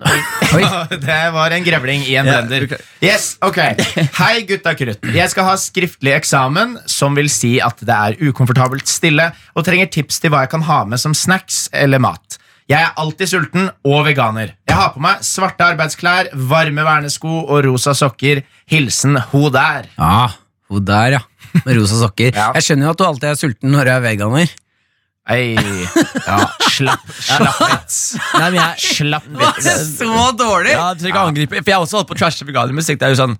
Det var en grevling i en Ja, blender. beklager. Yes, ok Hei, gutta krutt. Jeg skal ha skriftlig eksamen, som vil si at det er ukomfortabelt stille, og trenger tips til hva jeg kan ha med som snacks eller mat. Jeg er alltid sulten og veganer. Jeg har på meg svarte arbeidsklær, varme vernesko og rosa sokker. Hilsen ho der. Ja, hun der, ja. Med rosa sokker. Ja. Jeg skjønner jo at du alltid er sulten når du er veganer. Ei. Ja, slapp, slapp vits. Nei, men jeg Slapp Det er vits. så dårlig! Ja, du trenger ikke angripe For jeg har også holdt på å trashe veganermusikk. Det er jo sånn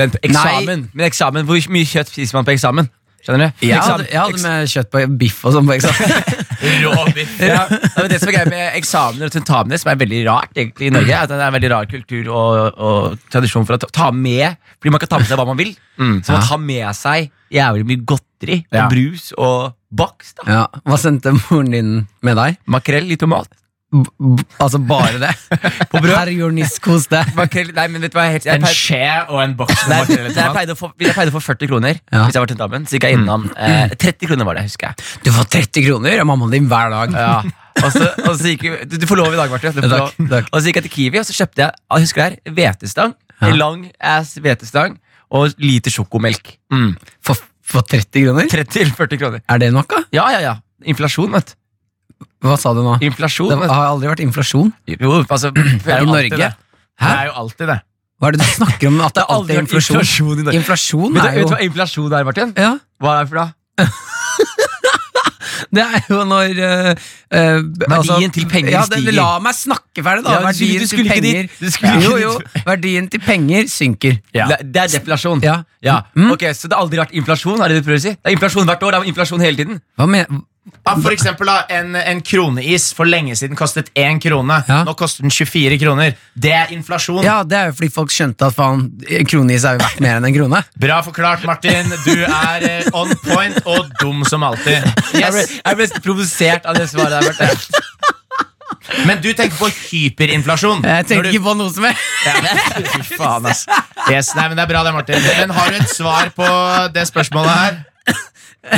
den, eksamen, Men eksamen, hvor mye kjøtt spiser man på eksamen? Skjønner du? Jeg hadde, Eksamen- jeg hadde med kjøtt på biff og sånn på eksamen. Råbiff. ja, men Det som er greia med eksamener og tentamener, som er veldig rart egentlig i Norge, er at det er en veldig rar kultur og, og tradisjon for å ta- ta med Fordi man kan ta med seg hva man vil. så man tar med seg jævlig mye godteri og Ja. brus og bakst. da Ja, Hva sendte moren din med deg? Makrell i tomat. B b altså bare det? På brød? Herr Jonis, kos deg. Makrell, nei, men vet du hva jeg helt jeg En pleier- skje og en boks med Nei, makrell i jeg tomat. pleide, å få, jeg pleide å få 40 kroner Ja. hvis jeg var tentamen. Så gikk jeg innom eh, 30 kroner var det, husker jeg. Du får 30 kroner av mammaen din hver dag. Ja. Og så, og så gikk vi, du, du får lov i dag, Martin. Du får Ja, lov. takk, takk. Og så gikk jeg til Kiwi og så kjøpte jeg ah, husker du det her, hvetestang. En lang ass hvetestang og liter sjokomelk. For, for 30 kroner? 30-40 kroner. Er det nok, da? Ja, ja, ja. Inflasjon, vet du. Hva sa du nå? Inflasjon, Det vet har aldri vært inflasjon. du. Jo, altså, det I er alltid Norge? det. Det er jo alltid det. Hva er det du snakker om? At det har alltid er vært inflasjon? inflasjon i Norge. Inflasjon Vet du er vet jo du hva inflasjon er, Martin? ja, Hva er det for da? Det er jo når eh, eh, Verdien til penger ja, det, stiger. La meg snakke ferdig, da! Ja, du skulle- verdien du skulle til ikke dit. penger Du skulle ikke Jo, dit. jo. Verdien til penger synker. Det, det er deflasjon. Ja. Mm. Ok, Så det har aldri vært inflasjon? er Det du prøver å si? Det er inflasjon hvert år. det er inflasjon hele tiden. Hva men, Ja, for eksempel da, en, en kroneis for lenge siden kostet én krone. Ja. Nå koster den 24 kroner. Det er inflasjon. ja, det er jo fordi folk skjønte at faen, en kronis er jo verdt mer enn en krone. Bra forklart, Martin. Du er eh, on point og dum som alltid. Jeg ble, Yes. jeg ble provosert av det svaret der. Martin. Men du tenker på hyperinflasjon. Jeg Når tenkte du- ikke på noe som er Ja, Fy faen, ass. Yes, nei, men det er bra det, Martin. Men har du et svar på det spørsmålet her?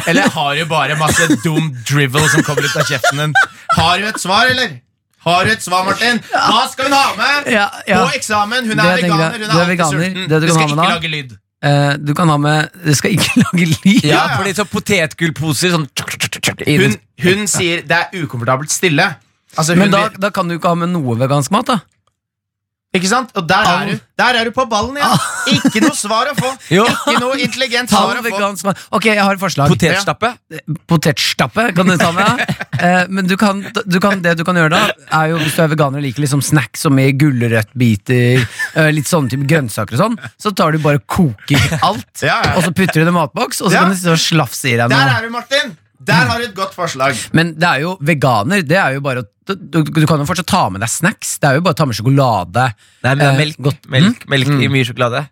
Eller har du bare masse dum drivel som kommer ut av kjeften din? Har du et svar, eller? Har du et svar, Martin? Hva skal hun ha med Ja, ja. på eksamen? Hun Det er jeg tenker, veganer. Hun du er er alltid veganer. Det sulten. du Du kan ha skal med da? ikke lage lyd. Eh, Du kan ha med Du skal ikke lage lyd. Ja, ja. fordi så potetgullposer sånn tsk, tsk, tsk, tsk, i Hun, den- hun sier det er ukomfortabelt stille. Altså, hun Men da, vil- da kan du ikke ha med noe vegansk mat, da. Ikke sant? Og der er du, der er du på ballen igjen. Ikke noe svar å få. Ah. Jo. Ikke noe intelligent Ta svar en å få. vegansk mat. Ok, jeg har et forslag. Potetstappe? Potetstappe kan du ta med. Eh, Men du kan, du kan, det du kan gjøre da, er jo hvis du er veganer og liker liksom snacks som i gulrøttbiter, eh, litt sånne type grønnsaker og sånn, så tar du bare og koker alt, Ja, ja. og så putter du det i matboks, og så Ja. kan du sitte og slafse i deg Der noe. er du, Martin! Der har du et godt forslag. Men det er jo veganer, det er jo bare å du, du du kan jo fortsatt ta med deg snacks. Det er jo bare å ta med sjokolade. Nei, men det er Eh, melk. godt. Melk, melk i mye sjokolade.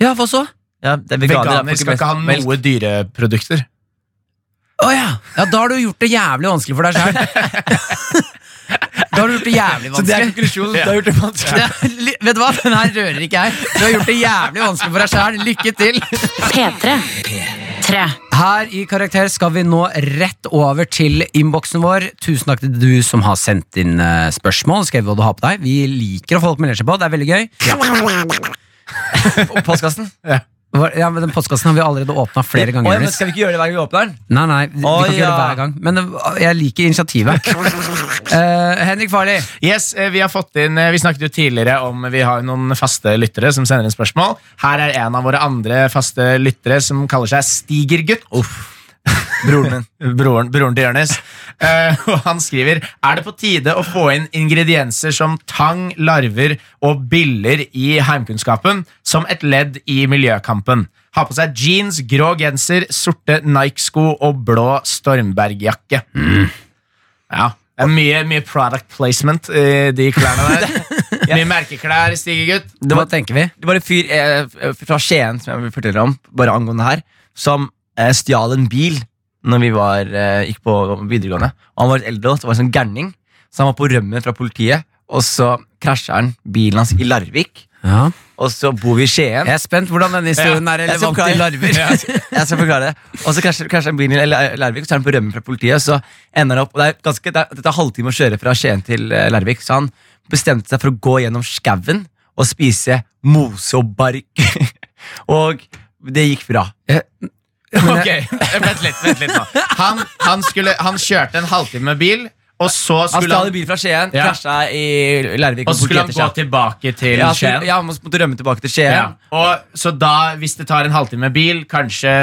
Ja, hva så? Ja, det er veganer, da, Veganer får skal ikke ha melk. noe sånn. dyreprodukter. Å ja. ja, da har du gjort det jævlig vanskelig for deg sjøl. da har du gjort det jævlig Så det er vanskelig. konklusjonen. Du har gjort det vanskelig. Det er, li- vet du hva, den her rører ikke jeg. Du har gjort det jævlig vanskelig for deg sjæl. Lykke til! P3. P3. Her i Karakter skal vi nå rett over til innboksen vår. Tusen takk til du som har sendt inn eh, spørsmål. Skrevet hva du har på deg. Vi liker å folk melder seg på. Det er veldig gøy. Og postkassen. Hva- Ja, men Den postkassen har vi allerede åpna flere ganger. Oi, men Jonis. skal vi ikke gjøre det hver gang vi åpner den? Nei, nei, vi Å, kan ikke gjøre det ja. hver gang. Men eh, jeg liker initiativet. Eh, Henrik Farley. Yes, eh, Vi har fått inn, eh, vi snakket jo tidligere om eh, vi har jo noen faste lyttere som sender inn spørsmål. Her er en av våre andre faste lyttere som kaller seg Stigergutt. Broren min. broren, broren til Jonis. Eh, og han skriver Er det på tide å få inn ingredienser som tang, larver og biller i heimkunnskapen som et ledd i miljøkampen? Ha på seg jeans, grå genser, sorte Nike-sko og blå Stormberg-jakke. Ja. Det er mye, mye product placement i de klærne der. Mye merkeklær, Stigegutt. Hva tenker vi? Det var en fyr eh, fra Skien som jeg vil fortelle om, bare angående her, som eh, stjal en bil når vi var, eh, gikk på videregående. Og han var litt eldre, og det var en sånn gærning. Så han var på rømmen fra politiet, og så krasja han bilen hans i Larvik. Ja. Og så bor vi i Skien. Jeg er spent hvordan denne historien er Jeg relevant skal forklare. til larver. Ja, jeg skal- jeg skal forklare det. Og så krasjer, krasjer han bilen i La- Larvik, så er han på rømme fra politiet. Og så ender han opp, og det er ganske, det er, det tar halvtime å kjøre fra Skien til eh, Larvik, så han bestemte seg for å gå gjennom skauen og spise mose og bark. og det gikk bra. Eh, Ok, Vent litt, vent litt nå. Han, han, skulle, han kjørte en halvtime med bil, og så Han skulle stjal en han, bil fra Skien, Ja. krasja i Larvik. og så skulle han politiet gå etter seg. tilbake til ja, så, Skien. ja, han måtte rømme tilbake til Skien. Ja. Og, så da, hvis det tar en halvtime med bil, kanskje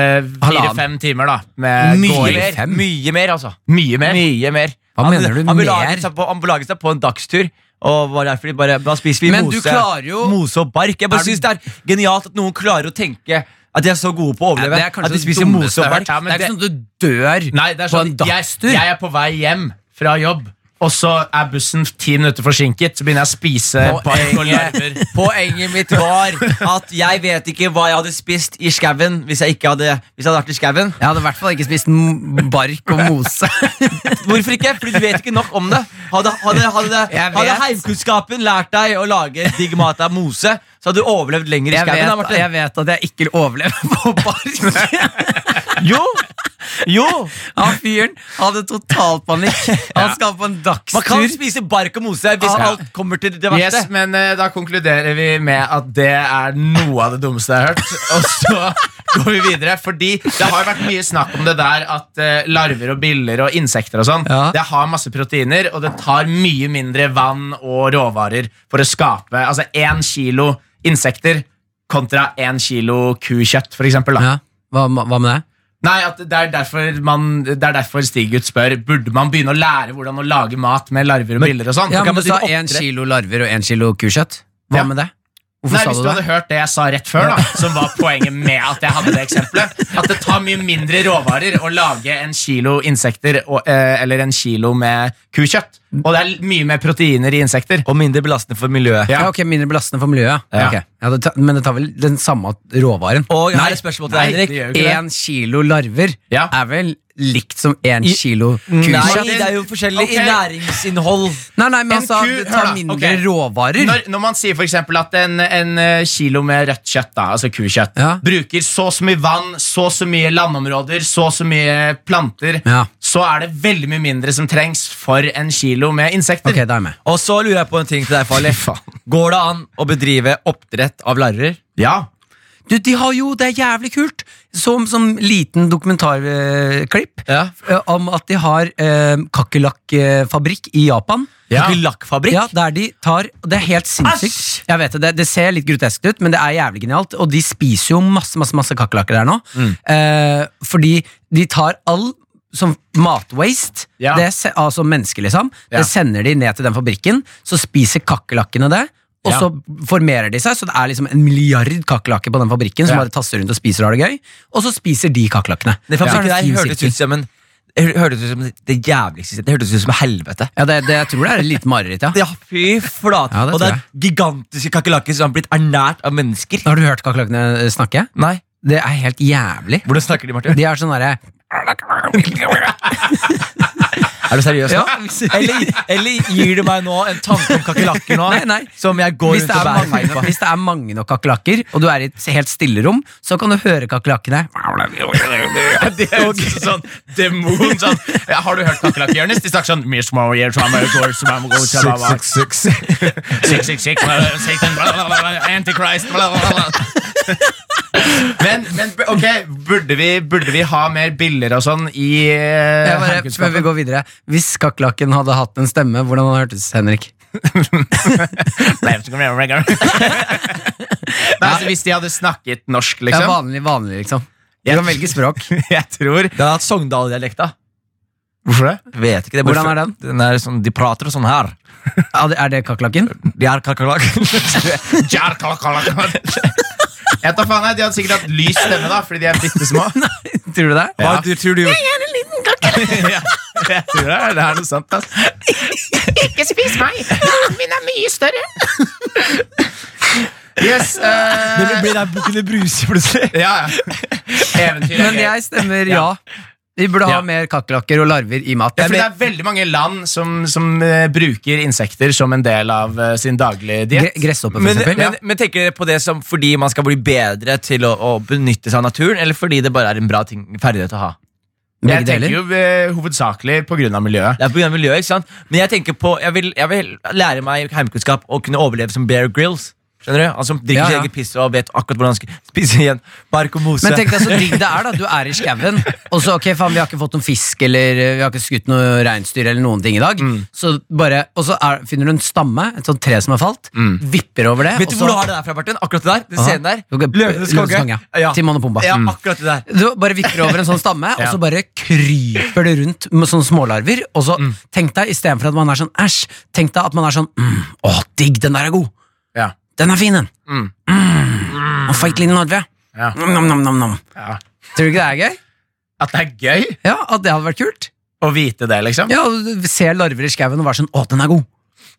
fire-fem timer da med Mye gåing. mer, Eh, mye mer, altså. Mye mer. Mye mer. Hva Han- mener du, han mer? belaget seg på- Han belaget seg på en dagstur. Og var derfor de bare, da spiser vi Men du mose, klarer jo- mose og bark. Jeg bare synes det er genialt at noen klarer å tenke at de er så gode på å overleve. det er kanskje at de det spiser dummeste mose og jeg har hørt. bark. Ja, men det er det- ikke sånn at du dør Nei, det er på sånn, en dagstur. Jeg, jeg er på vei hjem fra jobb, og så er bussen ti minutter forsinket. Så begynner jeg å spise bark og larver. Poenget, poenget mitt var at jeg vet ikke hva jeg hadde spist i skauen hvis jeg ikke hadde, hvis jeg hadde vært i skauen. Jeg hadde i hvert fall ikke spist m- bark og mose. Hvorfor ikke? Fordi du vet ikke nok om det. Hadde, hadde, hadde, Jeg vet. hadde heimkunnskapen lært deg å lage digg mat av mose, så hadde du overlevd lenger i Jeg skauen. da, vet, Martin. jeg vet at jeg ikke overlever på bark. Jo! Jo! Han fyren hadde totalpanikk. Han skal på en Man kan dagstur. spise bark og mose hvis Ja. alt kommer til det verste. Yes, men eh, da konkluderer vi med at det er noe av det dummeste jeg har hørt. Og så går vi videre, fordi det har jo vært mye snakk om det der at eh, larver og biller og insekter og sånn, Ja. det har masse proteiner, og det tar mye mindre vann og råvarer for å skape altså én kilo insekter kontra én kilo kukjøtt, for eksempel. Da. Ja, hva, hva med det? Nei, at det er derfor, man, det er derfor Stig-Gutt spør burde man begynne å lære hvordan å lage mat med larver og biller og sånn. Ja, kan men man Du sa drive én kilo larver og én kilo kukjøtt. Hva Ja. med det? Hvorfor Nei, sa Hvis du du det? hadde hørt det jeg sa rett før, da som var poenget med at jeg hadde det eksempelet At det tar mye mindre råvarer å lage en kilo insekter og, eh, eller en kilo med kukjøtt. Og det er mye mer proteiner i insekter. Og mindre belastende for miljøet. Ja, ok, Mindre belastende for miljøet. Ja. Ja. ok. Ja, det ta, men det tar vel den samme råvaren? Og her er et spørsmål til nei, deg, det gjør Henrik. jo ikke det. Én kilo larver Ja. er vel likt som én I- kilo Nei, kukjøtt? det er jo forskjellig Ok. i næringsinnhold. Nei, nei, men En han sa ku- det hør tar da, mindre ok. råvarer. Når, når man sier for eksempel at en, en eh, kilo med rødt kjøtt, da, altså kukjøtt, Ja. bruker så og så mye vann, så og så mye landområder, så og så mye planter, Ja. så er det veldig mye mindre som trengs for en kilo med insekter. Ok, da er jeg med. Og så lurer jeg på en ting til deg, Farley. Går det an å bedrive oppdrett av larver? Ja, Du, de har jo, det er jævlig kult! Som, som liten dokumentarklipp Ja. om at de har eh, kakerlakkfabrikk i Japan. Ja. Skikkelig lakkfabrikk. Ja, der de tar og Det er helt sinnssykt. Jeg vet det, det, det ser litt groteskt ut, men det er jævlig genialt. Og de spiser jo masse masse, masse kakerlakker der nå. Eh, fordi de tar all sånn matwaste, Ja. det se- altså mennesker, liksom, Ja. det sender de ned til den fabrikken. Så spiser kakerlakkene det. Og Ja. så formerer de seg, så det er liksom en milliard kakerlakker på den fabrikken. som Ja. bare tasser rundt Og spiser og har det gøy Og så spiser de kakerlakkene. Det Så er fabrikken der fin hørtes sirkel. ut som en det hørtes ut som det jævligste Det hørtes ut som helvete. Ja, det, det, Jeg tror det er et lite mareritt, ja. Ja, fy flate. Ja, det og det tror er gigantiske kakerlakker som har blitt ernært av mennesker. Har du hørt kakerlakkene eh, snakke? Nei, Det er helt jævlig. Hvordan snakker de, Martin? De er sånn derre Er du seriøs nå? Ja. Eller, eller gir du meg nå en tanke om kakerlakker nå? Nei, nei. Som jeg går Hvis rundt det, og er bærer mange, feil nok- på? hvis det er mange nok kakerlakker, og du er i et helt stille rom, så kan du høre kakerlakkene. Det er jo sånn demon sånn. ja, Har du hørt kakerlakker, Jonis? De snakker sånn «Miss Maria, Trama, Gore, Trama, Gore, Trama, Six, six, six, bla, bla, Satan, bla, bla, bla, bla, Antichrist bla, bla, bla, bla. Men, men ok, burde vi, burde vi ha mer biller og sånn i eh, Jeg bare, før vi heimkunnskapen? går videre Hvis kakerlakken hadde hatt en stemme, hvordan hadde det hørtes Henrik? Nei, så kommer jeg over en gang. Nei, altså, Hvis de hadde snakket norsk, Ja, liksom. vanlig, vanlig, liksom. Du kan velge språk. Jeg tror Det har hatt Sogndal-dialekta. Hvorfor det? altså, Vet ikke det. Hvordan hvorfor- er den? den er sånn, de prater sånn her. Ja, det- Er det kakerlakken? De er kakerlakker. Jar, kala, kala, kala. Jeg tar faen jeg, De hadde sikkert hatt lys stemme, da fordi de er bitte små. Tror du det? Hva du- tror du? ja, jeg tror det, er- det er noe sant. ass. Ikke spis meg! Min er mye større. Yes. Det eh, blir der bukkene bruser plutselig. ja, ja. Eventyr er Men gøy. jeg stemmer ja. Vi burde ha Ja. mer kakerlakker og larver i mat. Ja, fordi det er veldig mange land som, som eh, bruker insekter som en del av eh, sin daglige Gre- diett. Gresshopper, for Men, eksempel. men, men tenker dere på det som fordi man skal bli bedre til å, å benytte seg av naturen, eller fordi det bare er en bra ting, ferdighet å ha? Begge Jeg tenker deler. jo eh, hovedsakelig på grunn av miljøet. Det er på grunn av miljøet, ikke sant? Men jeg tenker på, jeg vil, jeg vil lære meg heimkunnskap og kunne overleve som Bear Grylls. Skjønner du? Altså, Han som drikker Ja, sitt ja. eget piss og vet akkurat hvordan han skal spise igjen. Bark og mose. Men tenk deg så digg det er, da. Du er i skauen, og så ok, faen, vi har ikke fått noen fisk, eller eh, vi har ikke skutt noe reinsdyr, eller noen ting i dag. Mm. Så bare, Og så er, finner du en stamme, et sånt tre som har falt, vipper over det. Mm. vet og du så, hvor du har det der fra, Martin? Akkurat det der? Den Aha. scenen der? Ok, Løvenes Løvenes konge, konge. ja. Timon og Pumba. Ja, Mm. akkurat det der. Du bare vipper over en sånn stamme, og så bare kryper det rundt med sånne smålarver. Og så tenk deg, istedenfor at man er sånn æsj, tenk deg at man er sånn mm, å, digg, den der er god. Ja. Den er fin, den. Mm. Og feit liten larve. Ja. Nam, nam, nam, nam. Ja. Tror du ikke det er gøy? At det er gøy Ja, At det hadde vært kult? å vite det, liksom. Ja, og du ser larver i skauen og være sånn 'Å, den er god'.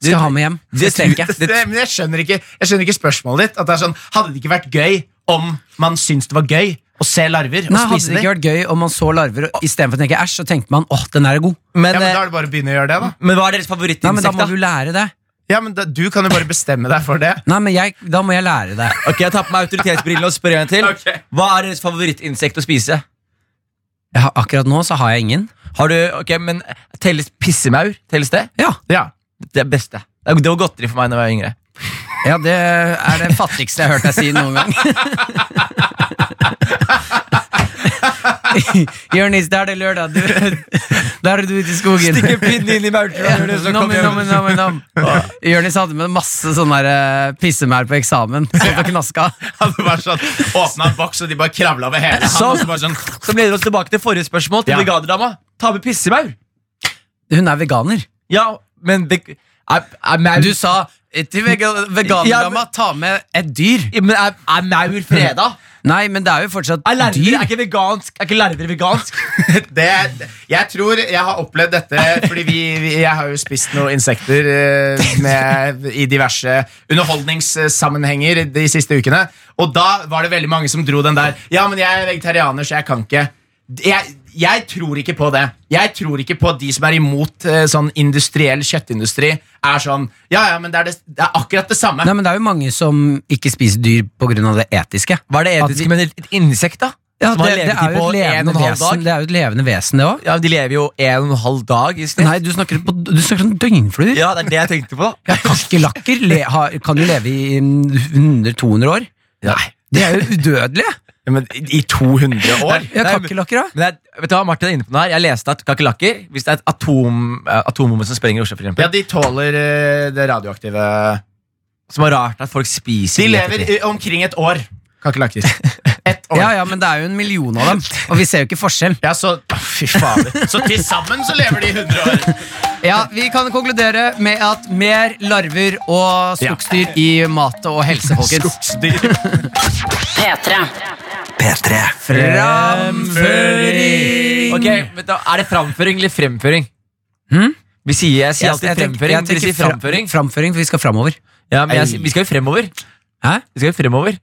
Skal ha med hjem. Det steker Det, jeg. men jeg skjønner, ikke, jeg skjønner ikke spørsmålet ditt. At det er sånn, Hadde det ikke vært gøy om man syntes det var gøy å se larver? Nei, og Hadde spise det dem? ikke vært gøy om man så larver og istedenfor å tenke æsj, så tenkte man 'Å, den der er god'. Men, Ja, men Da eh, er det bare å begynne å gjøre det. da men hva er deres Nei, men Da favorittinsekt, må da? vi jo lære det. Ja, men da, Du kan jo bare bestemme deg for det. Nei, men jeg, Da må jeg lære det. Ok, Jeg tar på meg autoritetsbrillene og spør en gang til. Ok. Hva er deres favorittinsekt å spise? Jeg har, akkurat nå så har jeg ingen. Har du, ok, men Telles pissemaur? Telles det? Ja, Ja, Det er beste. Det er- det var godteri for meg da jeg var yngre. ja det er det fattigste jeg har hørt deg si noen gang. Jonis, da er det lørdag. Du, da er du ute i skogen. Stikk en pinne inn i maurtua. Jonis hadde med masse sånne der, eh, pissemaur på eksamen. Satt og knaska. Han bare sånn, Åpna en boks, og de bare kravla over hele. Han, Sånn. og så bare sånn, Som leder oss tilbake til forrige spørsmål til Ja. brigadedama. Ta med pissemaur. Hun er veganer. Ja, men det, er, er maur Du sa eh, til vega- veganerdama ta med et dyr. Ja, men er, er maur freda? Nei, men det er jo fortsatt Er larver dyr. er ikke vegansk? Er ikke larver vegansk? det, jeg tror jeg har opplevd dette fordi vi, vi, jeg har jo spist noen insekter eh, med, i diverse underholdningssammenhenger de siste ukene. Og da var det veldig mange som dro den der Ja, men jeg er vegetarianer, så jeg kan ikke. Jeg, jeg tror ikke på det. Jeg tror ikke på at de som er imot eh, sånn industriell kjøttindustri, er sånn Ja, ja, men det er, det, det er akkurat det samme. Nei, men Det er jo mange som ikke spiser dyr pga. det etiske. Hva er det At etiske vi- med et insekt, da? Ja, Som har det, det levetid er jo et på en og levende en vesen, halv dag? det er jo et levende vesen, det òg. Ja, men De lever jo en og en halv dag i snitt. Nei, du snakker, på, du snakker om døgnfluer. Ja, det er det jeg tenkte på, da. Ja, Kakerlakker le, har- kan jo leve i 100-200 år. Nei. De er jo udødelige. Ja, men I 200 år? Ja, Nei, men- Kakerlakker, da? Men jeg, vet du hva Martin er inne på nå her? Jeg leste at kakerlakker Hvis det er et atom, eh, atombombe som sprenger i Oslo, for eksempel Ja, de tåler eh, det radioaktive Som er rart at folk spiser De i lever ettertid. i- omkring et år. Kakerlakker. Ett år. Ja, Ja, ja, men det er jo en million av dem, og vi ser jo ikke forskjell. så Å, Fy fader. Så til sammen så lever de i 100 år. Ja, Vi kan konkludere med at mer larver og skogsdyr i mat og helse, folkens. Skogsdyr. P3. P3. Framføring! Ok, men da Er det framføring eller fremføring? Vi sier, Hm? jeg sier Jeg, alltid jeg tenker, fremføring. jeg Dere tenker sier framføring. Fra, framføring, for vi skal framover. Ja, men jeg, sier- vi skal jo fremover. Hæ? Vi skal jo fremover.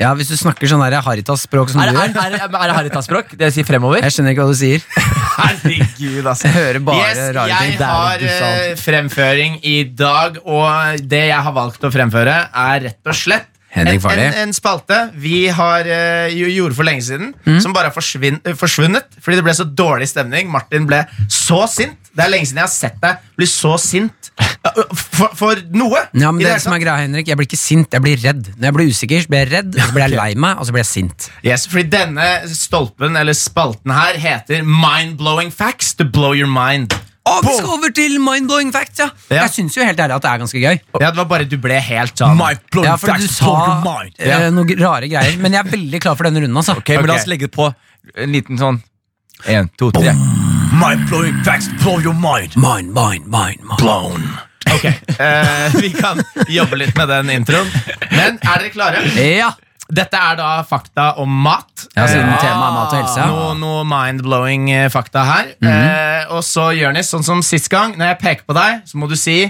Ja, Hvis du snakker sånn her Haritas-språk som Er, du er, gjør. er, er det Haritas-språk? Dere sier fremover? Jeg skjønner ikke hva du sier. Herregud, altså. Jeg hører bare Yes, rare ting. jeg har eh, fremføring i dag, og det jeg har valgt å fremføre, er rett og slett en, Henrik en, Farley. en spalte vi har eh, jo- gjorde for lenge siden, Mm. som bare har forsvinn, eh, forsvunnet fordi det ble så dårlig stemning. Martin ble så sint. Det er lenge siden jeg har sett deg bli så sint eh, for, for noe. Ja, men i det hele som er tatt. greia, Henrik, Jeg blir ikke sint, jeg blir redd. Når jeg blir usikker, så blir jeg redd, og så blir jeg lei meg, og så blir jeg sint. yes, fordi denne stolpen, eller spalten her, heter Mind-blowing facts to blow your mind. Og vi Boom. skal over til mind-blowing facts, ja! Ja. Oh, Jeg syns jo helt ærlig at det er ganske gøy. Ja, det var bare du ble helt sånn Ja, for du sa eh, noen rare greier, men jeg er veldig klar for denne runden, altså. Ok, men La Ok. oss legge på en liten sånn En, to, tre. Mind-blowing facts blow your mind. Mind, mind, mind, mind. Blown. Ok, eh, vi kan jobbe litt med den introen. Men er dere klare? Ja! Dette er da fakta om mat. ja siden Eh, temaet er mat og helse. Noe, noe mind-blowing eh, fakta her. eh, og så, Jonis, sånn som sist gang, når jeg peker på deg, så må du si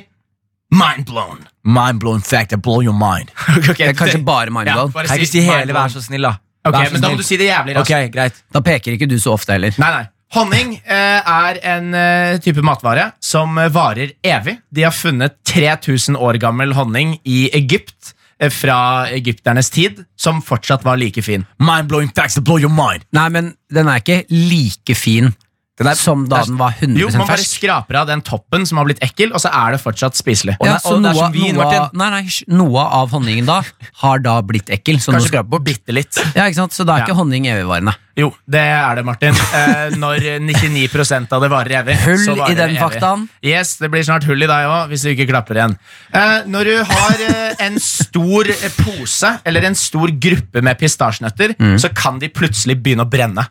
mind-blown. Mind-blown fact, I blow your mind. Det er kanskje bare Ja, mind-blown. bare Kan jeg ikke si hele, vær mind-blown. så snill, da? Ok, Vær men så da må snill. du si det jævlig raskt. Ok, greit. Da peker ikke du så ofte heller. Nei, nei. Honning eh, er en eh, type matvare som eh, varer evig. De har funnet 3000 år gammel honning i Egypt eh, fra egypternes tid, som fortsatt var like fin. Mind-blowing facts, I blow your mind. Nei, men den er ikke like fin som da den var 100 Jo, man bare fersk. skraper av den toppen som har blitt ekkel, og så er det fortsatt spiselig. Ja, nei, så og det noe, er som vin, noe, Martin. nei, nei, hysj, noe av honningen da har da blitt ekkel. Så nå Kanskje skraper bort. bitte litt. Ja, ikke sant? Så da er Ja. ikke honning evigvarende. Jo, det er det, Martin. Eh, når 99 av det varer evig. Hull så varer i den det evig. faktaen. Yes, Det blir snart hull i deg òg, hvis du ikke klapper igjen. Eh, når du har eh, en stor eh, pose eller en stor gruppe med pistasjenøtter, Mm. så kan de plutselig begynne å brenne.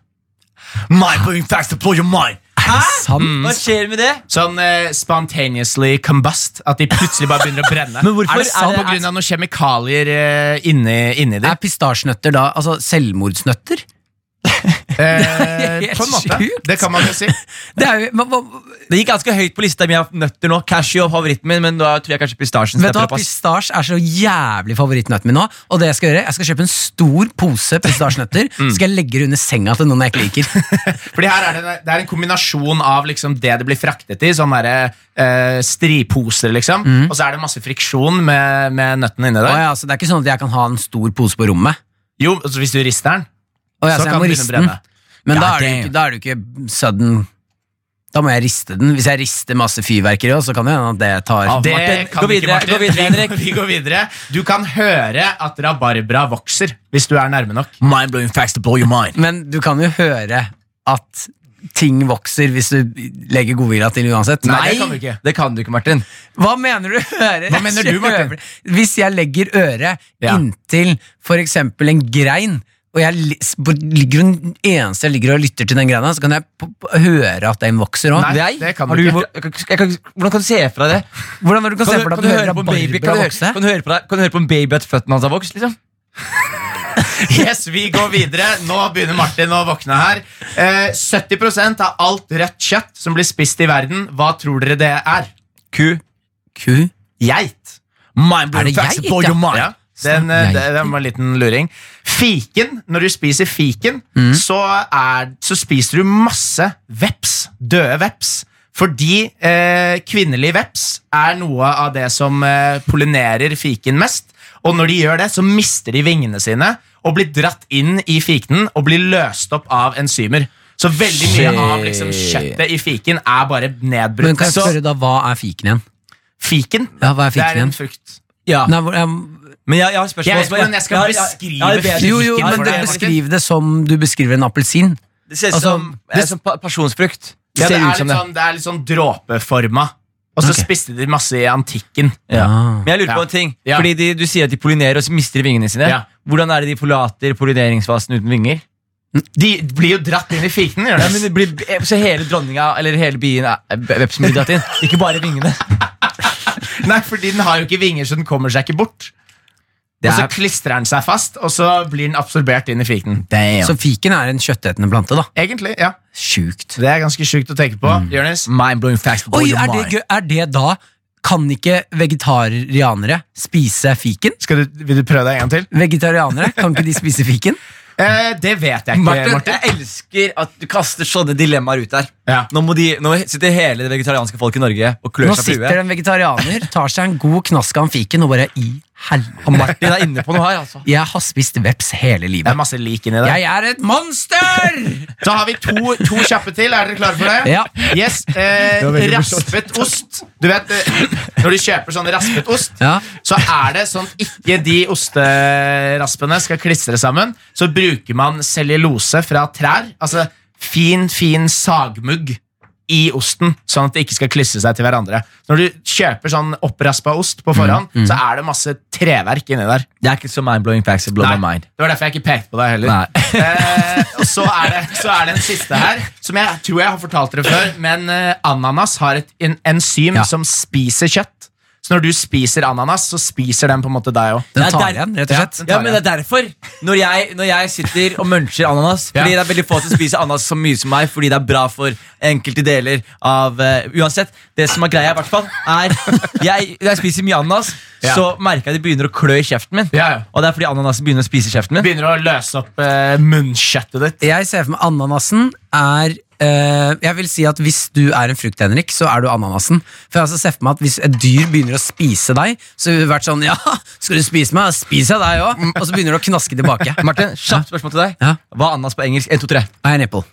Mind-blowing facts, I blow your mind. Hæ? Mm. Sant? Hva skjer med det? Sånn eh, spontaneously combust. At de plutselig bare begynner å brenne. Men hvorfor er det sant er det- på grunn av noen kjemikalier eh, inni, inni dem? Er pistasjenøtter da altså selvmordsnøtter? Eh, helt på en måte. sjukt. Det kan man jo si. Det er jo, hva, hva, Det gikk ganske høyt på lista mi av nøtter nå. Cashew er favoritten min, men da tror jeg kanskje pistasjen vet du hva, stepper opp. ass. Pistasje er så jævlig favorittnøtten min nå. Og det Jeg skal gjøre, jeg skal kjøpe en stor pose pistasjenøtter Så skal jeg legge det under senga til noen jeg ikke liker. Fordi her er det, det er en kombinasjon av liksom det det blir fraktet i, sånne der, eh, striposer, liksom. Og så er det masse friksjon med, med nøttene inni Mm. Å, der. ja, så det er ikke sånn at jeg kan ha en stor pose på rommet. Jo, altså hvis du rister den, Å, ja, så så, kan jeg må den riste begynne å den. brenne. Men da, Ja, er det jo damn. ikke, da er det jo ikke sudden Da må jeg riste den. Hvis jeg rister masse fyrverkeri også, så kan det hende at det tar Det Martin, kan gå vi videre, ikke, gå videre, Martin. Henrik. Vi, vi går videre. Du kan høre at rabarbra vokser hvis du er nærme nok. Mind-blowing facts, I blow your mind. Men du kan jo høre at ting vokser hvis du legger godvilja til uansett. Nei, det kan du ikke. Det kan du ikke, Martin. Hva mener du hører? Hva mener du, Martin? Hvis jeg legger øret Ja. inntil for eksempel en grein, og jeg li- s- på- ligger den eneste jeg ligger og lytter til den greina, så kan jeg p p høre at den vokser òg. Nei, Nei, det kan har du ikke. hvor- jeg kan- jeg kan- Hvordan kan du se fra det? Hvordan når du kan, Kan se du, for deg kan at du du høre hører på en baby kan du, rabarbra høre, vokse? kan, du høre på deg, kan du høre på en baby at føttene hans har vokst? liksom? Yes, vi går videre. Nå begynner Martin å våkne her. Eh, 70 av alt rødt kjøtt som blir spist i verden, hva tror dere det er? Ku. Ku? Geit. Er det Mind-blowing facts, jeg, I blow ja? Sånn, your mind. Ja, den, eh, Nei. det, den var en liten luring. Fiken, når du spiser fiken, Mm. så, er, så spiser du masse veps. Døde veps. Fordi eh, kvinnelig veps er noe av det som eh, pollinerer fiken mest. Og når de gjør det, så mister de vingene sine og blir dratt inn i fikenen og blir løst opp av enzymer. Så veldig mye av liksom, Shit. kjøttet i fiken er bare Men nedbrutt. kan jeg Så spørre da, Hva er fiken igjen? fiken, Ja, hva er det fiken er en igjen? frukt. Ja. Nei, hvor, jeg, Men jeg, jeg har spørsmål Jeg vet ikke som hvordan jeg skal har- beskrive har et bedre- Jo, jo, men det, Altså, Beskriv det som du beskriver en appelsin. Det ser ut altså, som, det, er som pa- pasjonsfrukt. Ja, det, ser er ut som litt det. sånn, det er litt sånn dråpeforma. Og så spiste de masse i antikken. Ja. Ah. Men jeg lurer på Ja. en ting. Ja. Fordi de, du sier at de pollinerer og så mister de vingene sine. Ja. Hvordan er det de forlater pollineringsfasen uten vinger? De blir jo dratt inn i fiken. Gjør Ja, det. men det blir, så hele dronninga, eller hele bien, er- vepsen blir dratt inn. Ikke bare vingene. Nei, fordi den har jo ikke vinger, så den kommer seg ikke bort. Det Og så er- klistrer den seg fast, og så blir den absorbert inn i fiken. Så fiken er en kjøttetende plante, da. Egentlig, ja. Sjukt. Det er ganske sjukt å tenke på. Mm. Jonis? Mind-blowing facts. for Oi, your er det, mind. gøy? er det da Kan ikke vegetarianere spise fiken? Skal du, vil du prøve deg en gang til? Vegetarianere, kan ikke de spise fiken? Eh, det vet jeg ikke, Martin, Martin. jeg elsker at du kaster sånne dilemmaer ut der. Ja. Nå, må de, nå sitter hele det vegetarianske folk i Norge og klør Nå seg på sitter det huet. en vegetarianer, tar seg en god knask av en fiken og bare i Og helvete. Martin er inne på noe her, altså. Jeg har spist veps hele Det er livet. masse lik inni der. Jeg er et monster! Da har vi to, to kjappe til. Er dere klare for det? Ja. Yes, eh, Raspet ost. Du vet, eh, Når du kjøper sånn raspet ost, Ja. så er det sånn at ikke de osteraspene skal klistre sammen. Så bruker man cellulose fra trær. Altså fin, fin sagmugg i osten, sånn at det ikke skal klistre seg til hverandre. Når du kjøper sånn oppraspa ost på forhånd, Mm, så er det masse treverk inni der. Det er ikke så mind-blowing facts. It blow Nei, my mind. Det var derfor jeg ikke pekte på deg heller. Eh, og så er, det, så er det en siste her, som jeg tror jeg har fortalt dere før. Men eh, ananas har et en enzym Ja. som spiser kjøtt. Så når du spiser ananas, så spiser den på en måte deg òg. Den Det er tar der- igjen, rett og slett. Ja, men det er derfor Når jeg, når jeg sitter og muncher ananas Fordi det er veldig få som spiser ananas så mye som meg Fordi det er bra for enkelte deler av eh, Uansett, det som er greia i hvert fall Er, jeg, når jeg spiser mye ananas Ja. Så merker jeg det begynner å klø i kjeften min Ja, ja. Og det er fordi ananasen begynner å spise kjeften min Begynner å løse opp eh, munnkjøttet ditt. Jeg ser for meg ananasen er eh, Jeg vil si at hvis du er en frukt, Henrik, så er du ananasen. For jeg altså ser for meg at Hvis et dyr begynner å spise deg, så ville det vært sånn Ja, skal du spise meg? Spiser jeg deg òg? Og så begynner du å knaske tilbake. Martin, kjapt spørsmål til deg Ja. Hva er ananas på engelsk? 1, 2, 3 I an apple.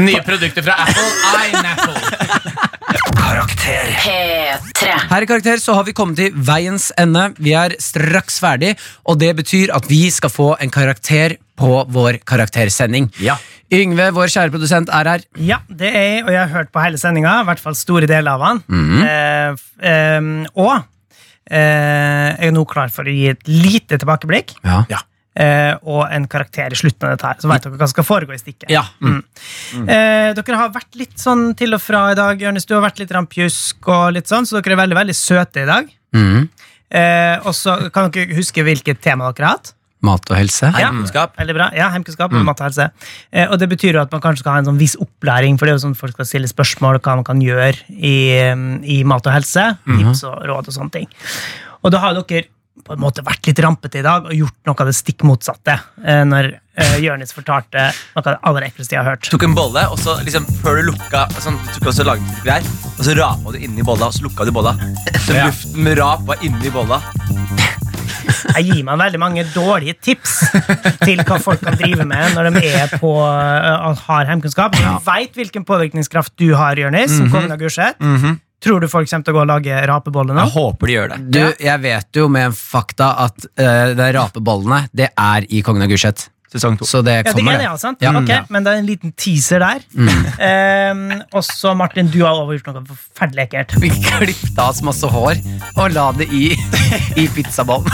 Nye produkter fra Apple. Ineapple. Karakter. P3. Her i Karakter så har vi kommet til veiens ende. Vi er straks ferdig, og det betyr at vi skal få en karakter på vår karaktersending. Ja. Yngve, vår kjære produsent, er her. Ja, det er jeg, og jeg har hørt på hele sendinga. I hvert fall store deler av den. Eh, f- ehm, og eh, jeg er nå klar for å gi et lite tilbakeblikk Ja. eh, og en karakter i slutten av dette. her, Så vet dere hva som skal foregå i stikket. Ja. Mm. Eh, dere har vært litt sånn til og fra i dag, Jørnes. Du har vært litt rampjusk, og litt sånn, så dere er veldig veldig søte i dag. Eh, og så kan dere huske hvilket tema dere har hatt. Mat og helse. Ja, Veldig bra. Ja, heimkunnskap og matte og helse. Eh, og det betyr jo at man kanskje skal ha en sånn viss opplæring, for det er jo sånn folk skal stille spørsmål hva man kan gjøre i, eh, i mat og helse. Tips og råd og sånne ting. Og da har dere på en måte vært litt rampete i dag og gjort noe av det stikk motsatte eh, når eh, Jørnis fortalte noe av det aller ekleste jeg har hørt. Tok en bolle, og så liksom Før du lukka sånn, du tok også lagde greier, Og så rapet du inni bolla, og så lukka du bolla Så Ja. luften med rap var inni bolla Jeg gir meg veldig mange dårlige tips til hva folk kan drive med når de er på, eh, har heimkunnskap. Du veit hvilken påvirkningskraft du har, Jørnis, som kongen av Gulset. Tror du folk kommer til å gå og lage rapeboller nå? Jeg håper de gjør det Du, jeg vet jo med fakta at eh, det er rapebollene det er i Kongen av Gulset. Sesong 2 Så det Ja, det kommer, ene, det. ja, sant? Ja. Ok, Men det er en liten teaser der. Ehm, og så, Martin, du har også gjort noe forferdelig ekkelt. Vi klippet av oss masse hår og la det i, i pizzabollen.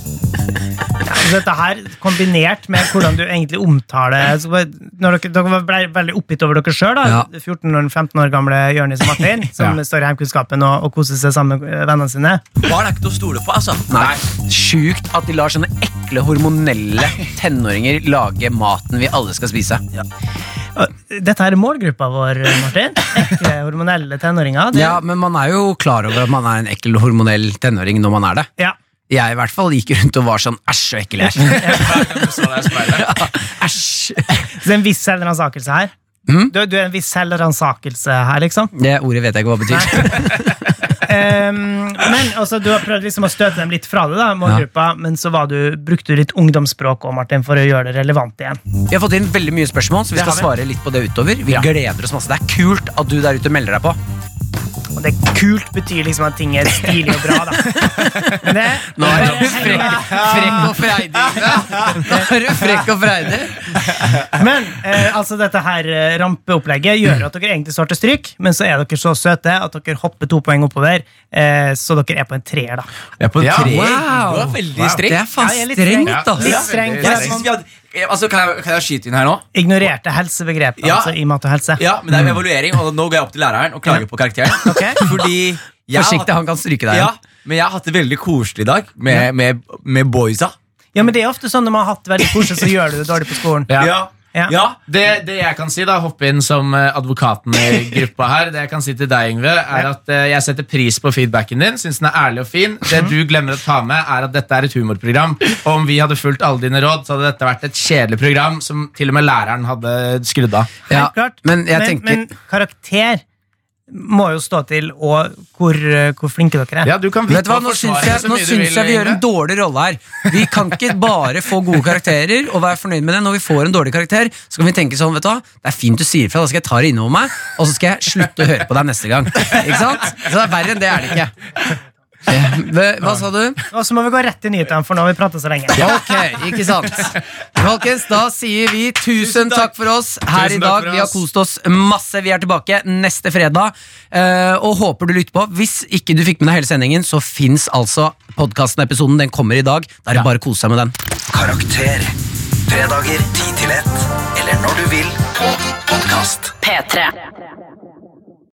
Så Dette her, kombinert med hvordan du egentlig omtaler så bare- når Dere, dere ble veldig oppgitt over dere sjøl, Ja. 14-15 år gamle Jonis og Martin, som Ja. står i heimkunnskapen og, og koser seg sammen med eh, vennene sine. Barn er ikke til å stole på, altså. Nei. Sjukt at de lar sånne ekle hormonelle tenåringer lage maten vi alle skal spise. Og Dette her er målgruppa vår, eh, Martin. Ekle hormonelle tenåringer. Det, Ja, men man er jo klar over at man er en ekkel hormonell tenåring når man er det. Ja. Jeg i hvert fall gikk rundt og var sånn æsj, så ekkel jeg er. Æsj. Så det er en viss selvransakelse her. Mhm. Du, du er en viss selvransakelse her, liksom. Det ordet vet jeg ikke hva det betyr. Ehm, men altså, Du har prøvd liksom å støte dem litt fra det, da, målgruppa, men så var du, brukte du litt ungdomsspråk også, Martin, for å gjøre det relevant igjen. Vi har fått inn veldig mye spørsmål, så vi skal svare litt på det utover. Vi gleder oss masse. Det er kult at du der ute melder deg på. Og det kult betyr liksom at ting er stilig og bra, da. Men det, Nå er du det- frekk, frekk og freidig. Nå er du frekk og freidig. Men eh, altså dette her eh, rampeopplegget gjør at dere egentlig står til stryk, men så er dere så søte at dere hopper to poeng oppover, eh, så dere er på en treer, da. Jeg er på en Ja, treer. wow. Du er veldig streng. Det er faen Ja, jeg er litt strengt, streng. Litt ass. strengt. Jeg synes vi hadde, eh, altså, kan, jeg, kan jeg skyte inn her nå? Ignorerte helsebegrepet Ja. altså, i mat og helse. Ja, men det er Mm. en evaluering, og nå går jeg opp til læreren og klager på karakteren. Fordi jeg har Forsiktig, hatt- han kan stryke deg. ja, men jeg har hatt det veldig koselig i dag med, med, med boysa. Ja, men det er ofte sånn når man har hatt det veldig koselig, så gjør du det dårlig på skolen. Ja. Ja. Ja. Det, det jeg kan si, da, hoppe inn som eh, advokaten i gruppa her. Det jeg kan si til deg, Yngve, er at eh, jeg setter pris på feedbacken din. Synes den er ærlig og fin. Det du glemmer å ta med, er at dette er et humorprogram. Og om vi hadde fulgt alle dine råd, så hadde dette vært et kjedelig program som til og med læreren hadde skrudd av. Ja, Helt klart. men jeg men, tenker- men karakter må jo stå til og hvor, eh, hvor flinke dere er. Ja, du kan Vet du hva, og Nå forsvare syns jeg, så nå mye du syns vil, jeg vi gjør en Yngve. dårlig rolle her. Vi kan ikke bare få gode karakterer og være fornøyd med det. Når vi får en dårlig karakter, så kan vi tenke sånn, vet du hva, det er fint du sier fra, da skal jeg ta det innover meg, og så skal jeg slutte å høre på deg neste gang. Ikke sant? Så det er verre enn det er det ikke. Eh, Hva hva sa du? Og så må vi gå rett til nyhetene, for nå har vi prata så lenge. Ok, ikke sant. Folkens, da sier vi tusen takk for oss her i Tusen takk dag. for Vi har oss. kost oss masse. Vi er tilbake neste fredag eh, og håper du lytter på. Hvis ikke du fikk med deg hele sendingen, så fins altså podkasten-episoden. Den kommer i dag. Da er det bare å kose seg med den. Karakter. Fredager 10 til 1. Eller når du vil på podkast. P3.